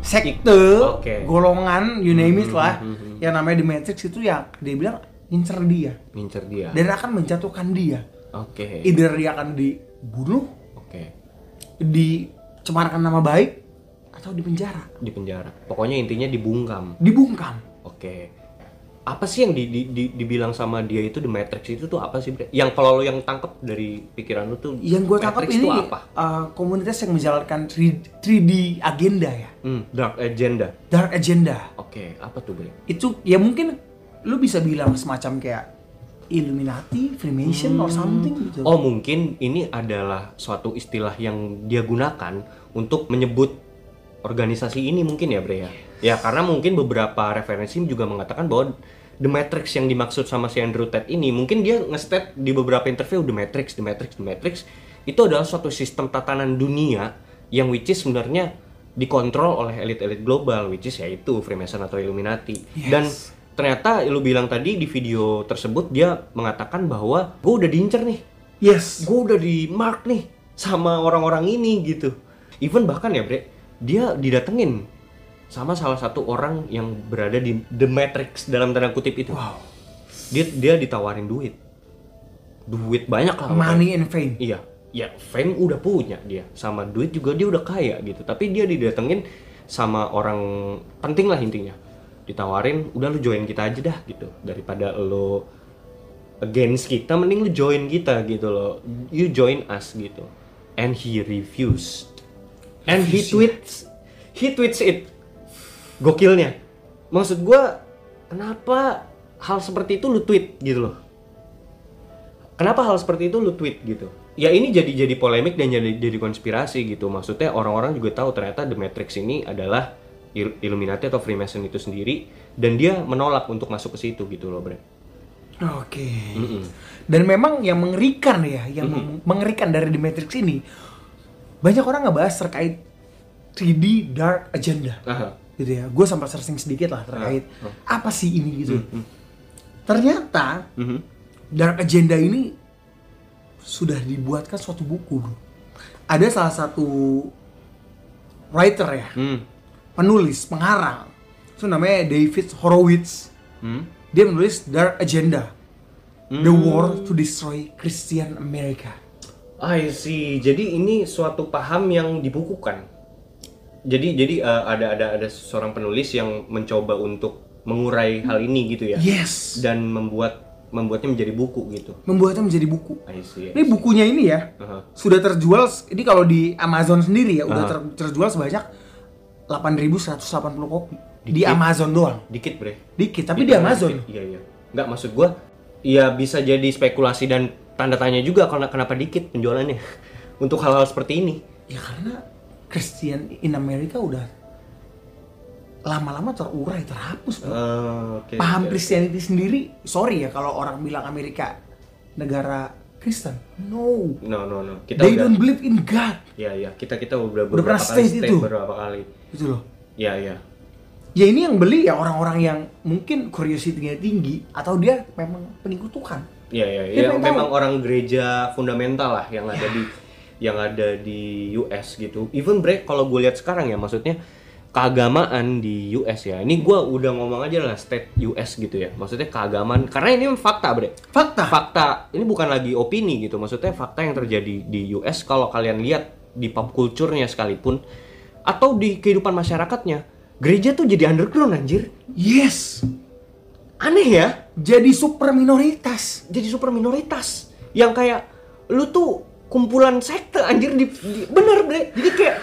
[SPEAKER 1] sekte
[SPEAKER 2] Oke.
[SPEAKER 1] golongan you name it lah yang namanya the matrix itu ya dia bilang incer dia
[SPEAKER 2] ngincer dia.
[SPEAKER 1] dan akan menjatuhkan dia
[SPEAKER 2] Oke.
[SPEAKER 1] either dia akan dibunuh
[SPEAKER 2] Oke.
[SPEAKER 1] dicemarkan nama baik atau dipenjara
[SPEAKER 2] Di penjara. Pokoknya intinya dibungkam.
[SPEAKER 1] dibungkam
[SPEAKER 2] Oke. Apa sih yang di, di- di- dibilang sama dia itu The Matrix itu tuh apa sih? Bre? Yang kalau lo yang tangkep dari pikiran lo tuh
[SPEAKER 1] yang gue tangkap
[SPEAKER 2] Matrix
[SPEAKER 1] ini
[SPEAKER 2] tuh apa?
[SPEAKER 1] uh, komunitas yang menjalankan 3, d agenda ya
[SPEAKER 2] Hmm, dark agenda.
[SPEAKER 1] dark agenda
[SPEAKER 2] Oke, apa tuh, Bre?
[SPEAKER 1] itu ya mungkin lu bisa bilang semacam kayak Illuminati, Freemason or something gitu.
[SPEAKER 2] Oh mungkin ini adalah suatu istilah yang dia gunakan untuk menyebut organisasi ini mungkin ya Bre ya. Ya karena mungkin beberapa referensi juga mengatakan bahwa The Matrix yang dimaksud sama si Andrew Tate ini mungkin dia nge-state di beberapa interview The Matrix, The Matrix, The Matrix itu adalah suatu sistem tatanan dunia yang which is sebenarnya dikontrol oleh elit-elit global which is yaitu Freemason atau Illuminati. Dan ternyata lu bilang tadi di video tersebut dia mengatakan bahwa gue udah diincer nih
[SPEAKER 1] Yes.
[SPEAKER 2] gue udah di mark nih sama orang-orang ini gitu even bahkan ya bre dia didatengin sama salah satu orang yang berada di The Matrix dalam tanda kutip itu
[SPEAKER 1] Wow.
[SPEAKER 2] dia dia ditawarin duit duit banyak lah
[SPEAKER 1] Money and fame.
[SPEAKER 2] Iya, ya fame udah punya dia, sama duit juga dia udah kaya gitu. Tapi dia didatengin sama orang penting lah intinya. Ditawarin, udah lu join kita aja dah gitu. Daripada lo against kita, mending lu join kita gitu loh. You join us gitu. And he refused. And he tweets, he tweets it. Gokilnya. Maksud gua, kenapa hal seperti itu lu tweet gitu loh? kenapa hal seperti itu lu tweet gitu ya ini jadi jadi polemik dan jadi jadi konspirasi gitu maksudnya orang-orang juga tahu ternyata The Matrix ini adalah Il- Illuminati atau Freemason itu sendiri dan dia menolak untuk masuk ke situ gitu loh Bre
[SPEAKER 1] Oke. Dan memang yang mengerikan ya, yang meng- mengerikan dari The Matrix ini banyak orang ngebahas terkait 3D Dark Agenda
[SPEAKER 2] Aha.
[SPEAKER 1] gitu ya gue sempat searching sedikit lah terkait
[SPEAKER 2] Ah,
[SPEAKER 1] apa sih ini gitu ternyata
[SPEAKER 2] Mhm.
[SPEAKER 1] Dark Agenda ini sudah dibuatkan suatu buku bro ada salah satu writer ya
[SPEAKER 2] Hmm.
[SPEAKER 1] penulis pengarang itu namanya David Horowitz
[SPEAKER 2] Hmm.
[SPEAKER 1] dia menulis Dark Agenda The War to Destroy Christian America
[SPEAKER 2] I see. Jadi ini suatu paham yang dibukukan. Jadi jadi eh, ada ada ada seorang penulis yang mencoba untuk mengurai hal ini gitu ya.
[SPEAKER 1] yes
[SPEAKER 2] Dan membuat membuatnya menjadi buku gitu.
[SPEAKER 1] membuatnya menjadi buku
[SPEAKER 2] I see.
[SPEAKER 1] ini bukunya ini ya
[SPEAKER 2] Aha.
[SPEAKER 1] sudah terjual ini kalau di Amazon sendiri ya udah
[SPEAKER 2] Ah.
[SPEAKER 1] ter- terjual sebanyak 8.180 kopi di
[SPEAKER 2] Dikit.
[SPEAKER 1] Amazon doang
[SPEAKER 2] Dikit, Bre.
[SPEAKER 1] dikit tapi di Amazon
[SPEAKER 2] Iya, iya. Enggak maksud gua ya bisa jadi spekulasi dan tanda tanya juga karena kenapa dikit penjualannya *laughs* untuk hal-hal seperti ini.
[SPEAKER 1] ya karena Christian in America udah lama-lama terurai terhapus bro.
[SPEAKER 2] Eh, oke.
[SPEAKER 1] paham
[SPEAKER 2] oke.
[SPEAKER 1] Christianity sendiri sorry ya kalau orang bilang Amerika negara Kristen no
[SPEAKER 2] No, no, no. Kita ya.
[SPEAKER 1] they
[SPEAKER 2] udah
[SPEAKER 1] don't believe in God
[SPEAKER 2] Iya, iya. Kita kita udah
[SPEAKER 1] Udah
[SPEAKER 2] beberapa
[SPEAKER 1] pernah
[SPEAKER 2] kali
[SPEAKER 1] state
[SPEAKER 2] state
[SPEAKER 1] itu.
[SPEAKER 2] beberapa kali.
[SPEAKER 1] gitu loh
[SPEAKER 2] Iya, iya.
[SPEAKER 1] ya ini yang beli ya orang-orang yang mungkin curiosity-nya tinggi atau dia memang pengikut Tuhan
[SPEAKER 2] Iya, iya.
[SPEAKER 1] Dia
[SPEAKER 2] Ya,
[SPEAKER 1] pengen
[SPEAKER 2] memang
[SPEAKER 1] tahu. Iya.
[SPEAKER 2] orang gereja fundamental lah yang ada di yang ada di US gitu. Even break kalau gue lihat sekarang ya maksudnya keagamaan di US ya. Ini gue udah ngomong aja lah state US gitu ya. Maksudnya keagamaan karena ini fakta, Bre.
[SPEAKER 1] fakta
[SPEAKER 2] Fakta. Ini bukan lagi opini gitu. Maksudnya fakta yang terjadi di US kalau kalian lihat di pop culture-nya sekalipun atau di kehidupan masyarakatnya, gereja tuh jadi underground anjir.
[SPEAKER 1] yes
[SPEAKER 2] Aneh ya?
[SPEAKER 1] jadi super minoritas
[SPEAKER 2] jadi super minoritas yang kayak lu tuh kumpulan sekte anjir di, di- bener bre jadi kayak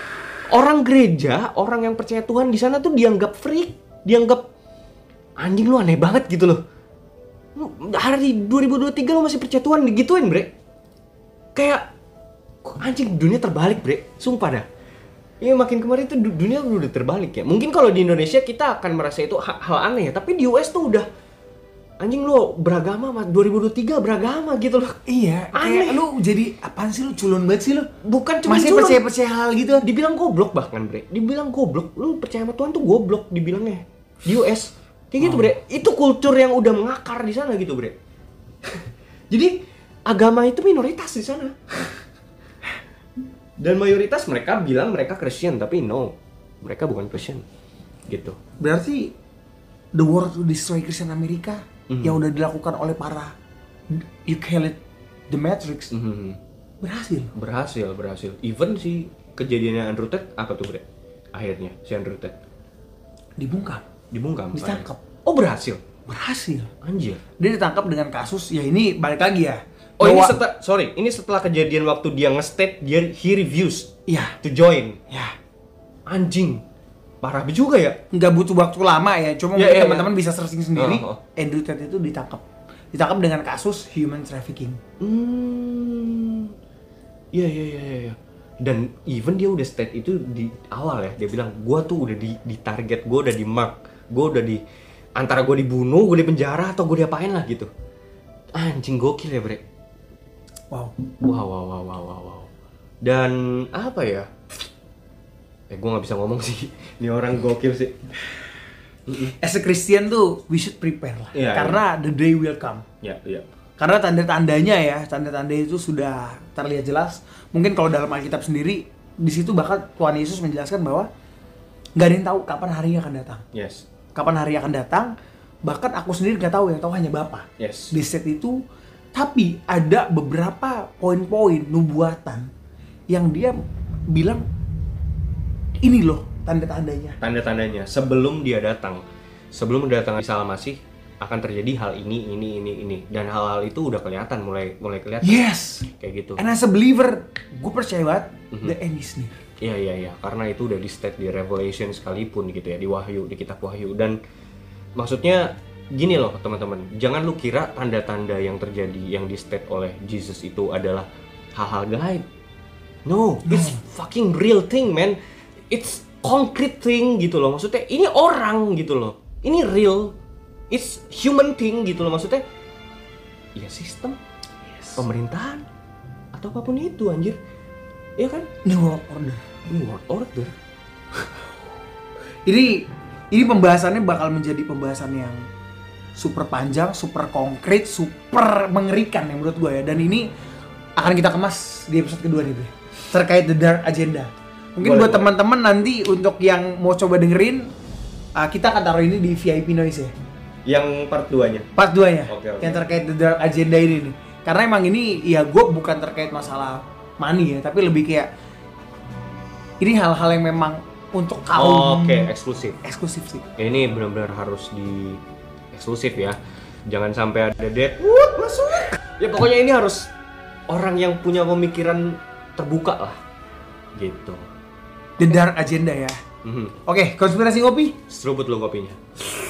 [SPEAKER 2] orang gereja orang yang percaya Tuhan di sana tuh dianggap freak dianggap anjing lu aneh banget gitu loh Lu hari 2023 lu masih percaya Tuhan digituin bre kayak kok anjing dunia terbalik bre sumpah dah Iya makin kemarin tuh du- dunia udah terbalik ya. Mungkin kalau di Indonesia kita akan merasa itu ha- hal aneh ya, tapi di US tuh udah anjing lo beragama mas 2023 beragama gitu loh.
[SPEAKER 1] iya
[SPEAKER 2] Aneh.
[SPEAKER 1] kayak lu jadi apaan sih lu culun banget sih lu
[SPEAKER 2] Bukan cuma
[SPEAKER 1] masih
[SPEAKER 2] culun.
[SPEAKER 1] percaya percaya hal gitu
[SPEAKER 2] Dibilang goblok bahkan bre, dibilang goblok. Lu percaya sama Tuhan tuh goblok dibilangnya di US. Kayak gitu bre, itu kultur yang udah mengakar di sana gitu bre. *laughs* Jadi agama itu minoritas di sana. *laughs* Dan mayoritas mereka bilang mereka Christian tapi no, mereka bukan Christian gitu.
[SPEAKER 1] berarti the war to destroy Christian America
[SPEAKER 2] Mhm.
[SPEAKER 1] yang udah dilakukan oleh para you call it the Matrix
[SPEAKER 2] Mhm.
[SPEAKER 1] berhasil
[SPEAKER 2] Berhasil, berhasil. Even si kejadiannya Andrew Tate apa tuh bre? Akhirnya si Andrew Tate
[SPEAKER 1] dibungkam
[SPEAKER 2] dibungkam.
[SPEAKER 1] Ditangkap.
[SPEAKER 2] Oh berhasil.
[SPEAKER 1] berhasil
[SPEAKER 2] Anjir.
[SPEAKER 1] dia ditangkap dengan kasus ya ini balik lagi ya
[SPEAKER 2] Oh ini
[SPEAKER 1] bahwa-
[SPEAKER 2] setelah sorry, ini setelah kejadian waktu dia nge-state dia he reviews
[SPEAKER 1] ya
[SPEAKER 2] to join.
[SPEAKER 1] ya
[SPEAKER 2] Anjing. Parah juga ya.
[SPEAKER 1] nggak butuh waktu lama ya cuma mungkin
[SPEAKER 2] Ya, ya, ya.
[SPEAKER 1] teman-teman bisa searching sendiri
[SPEAKER 2] Oh, oh.
[SPEAKER 1] Andrew Tate itu ditangkap ditangkap dengan kasus human trafficking
[SPEAKER 2] Hmm. Iya iya iya iya, iya. Dan even dia udah state itu di awal ya, dia bilang gua tuh udah di, di target, gua udah di mark, gua udah di antara gua dibunuh, gua di penjara atau gua diapain lah gitu. Anjing gokil ya, Bre.
[SPEAKER 1] wow
[SPEAKER 2] Wow, wow, wow, wow, wow, wow. Dan apa ya? Eh, gue nggak bisa ngomong sih. *laughs* Ini orang gokil sih.
[SPEAKER 1] as a Christian tuh we should prepare lah
[SPEAKER 2] Ya, ya.
[SPEAKER 1] karena the day will come
[SPEAKER 2] Ya, ya.
[SPEAKER 1] Karena tanda-tandanya ya, tanda-tanda itu sudah terlihat jelas. Mungkin kalau dalam Alkitab sendiri, di situ bahkan Tuhan Yesus menjelaskan bahwa nggak ada yang tahu kapan harinya akan datang.
[SPEAKER 2] Yes,
[SPEAKER 1] Kapan hari akan datang, bahkan aku sendiri nggak tahu, yang tahu hanya Bapa.
[SPEAKER 2] yes.
[SPEAKER 1] Di set itu, tapi ada beberapa poin-poin nubuatan yang dia bilang ini loh tanda-tandanya.
[SPEAKER 2] Tanda-tandanya sebelum dia datang, sebelum datang Isa Masih akan terjadi hal ini, ini, ini, ini. Dan hal-hal itu udah kelihatan, mulai, mulai kelihatan.
[SPEAKER 1] Yes.
[SPEAKER 2] Kayak gitu.
[SPEAKER 1] And as a believer, gue percaya banget the end is near.
[SPEAKER 2] Iya iya iya, karena itu udah di state di Revelation sekalipun gitu ya, di Wahyu, di kitab Wahyu dan maksudnya gini loh teman-teman, jangan lu kira tanda-tanda yang terjadi yang di state oleh Jesus itu adalah hal-hal gaib. No, it's fucking real thing, man. It's concrete thing gitu loh. Maksudnya ini orang gitu loh. Ini real. It's human thing gitu loh maksudnya. Ya sistem, pemerintahan atau apapun itu anjir. Iya kan?
[SPEAKER 1] New World Order.
[SPEAKER 2] Ini world order
[SPEAKER 1] Ini ini pembahasannya bakal menjadi pembahasan yang super panjang, super konkret, super mengerikan ya menurut gue ya. Dan ini akan kita kemas di episode kedua nih, Bre. Terkait The Dark Agenda. Mungkin
[SPEAKER 2] Boleh,
[SPEAKER 1] buat
[SPEAKER 2] boleh.
[SPEAKER 1] teman-teman nanti untuk yang mau coba dengerin uh, kita akan taruh ini di VIP noise ya.
[SPEAKER 2] Yang part 2-nya.
[SPEAKER 1] Part 2 nya
[SPEAKER 2] Oke, oke.
[SPEAKER 1] yang terkait the dark agenda ini nih. Karena emang ini ya gue bukan terkait masalah money ya, tapi lebih kayak ini hal-hal yang memang untuk kaum
[SPEAKER 2] Oke, eksklusif.
[SPEAKER 1] eksklusif sih.
[SPEAKER 2] Ya, ini benar-benar harus di eksklusif ya. Jangan sampai ada dead.
[SPEAKER 1] masuk.
[SPEAKER 2] Ya pokoknya ini harus orang yang punya pemikiran terbuka lah. Gitu.
[SPEAKER 1] The dark agenda ya.
[SPEAKER 2] Mhm.
[SPEAKER 1] Oke, konspirasi ngopi.
[SPEAKER 2] Seruput lo kopinya.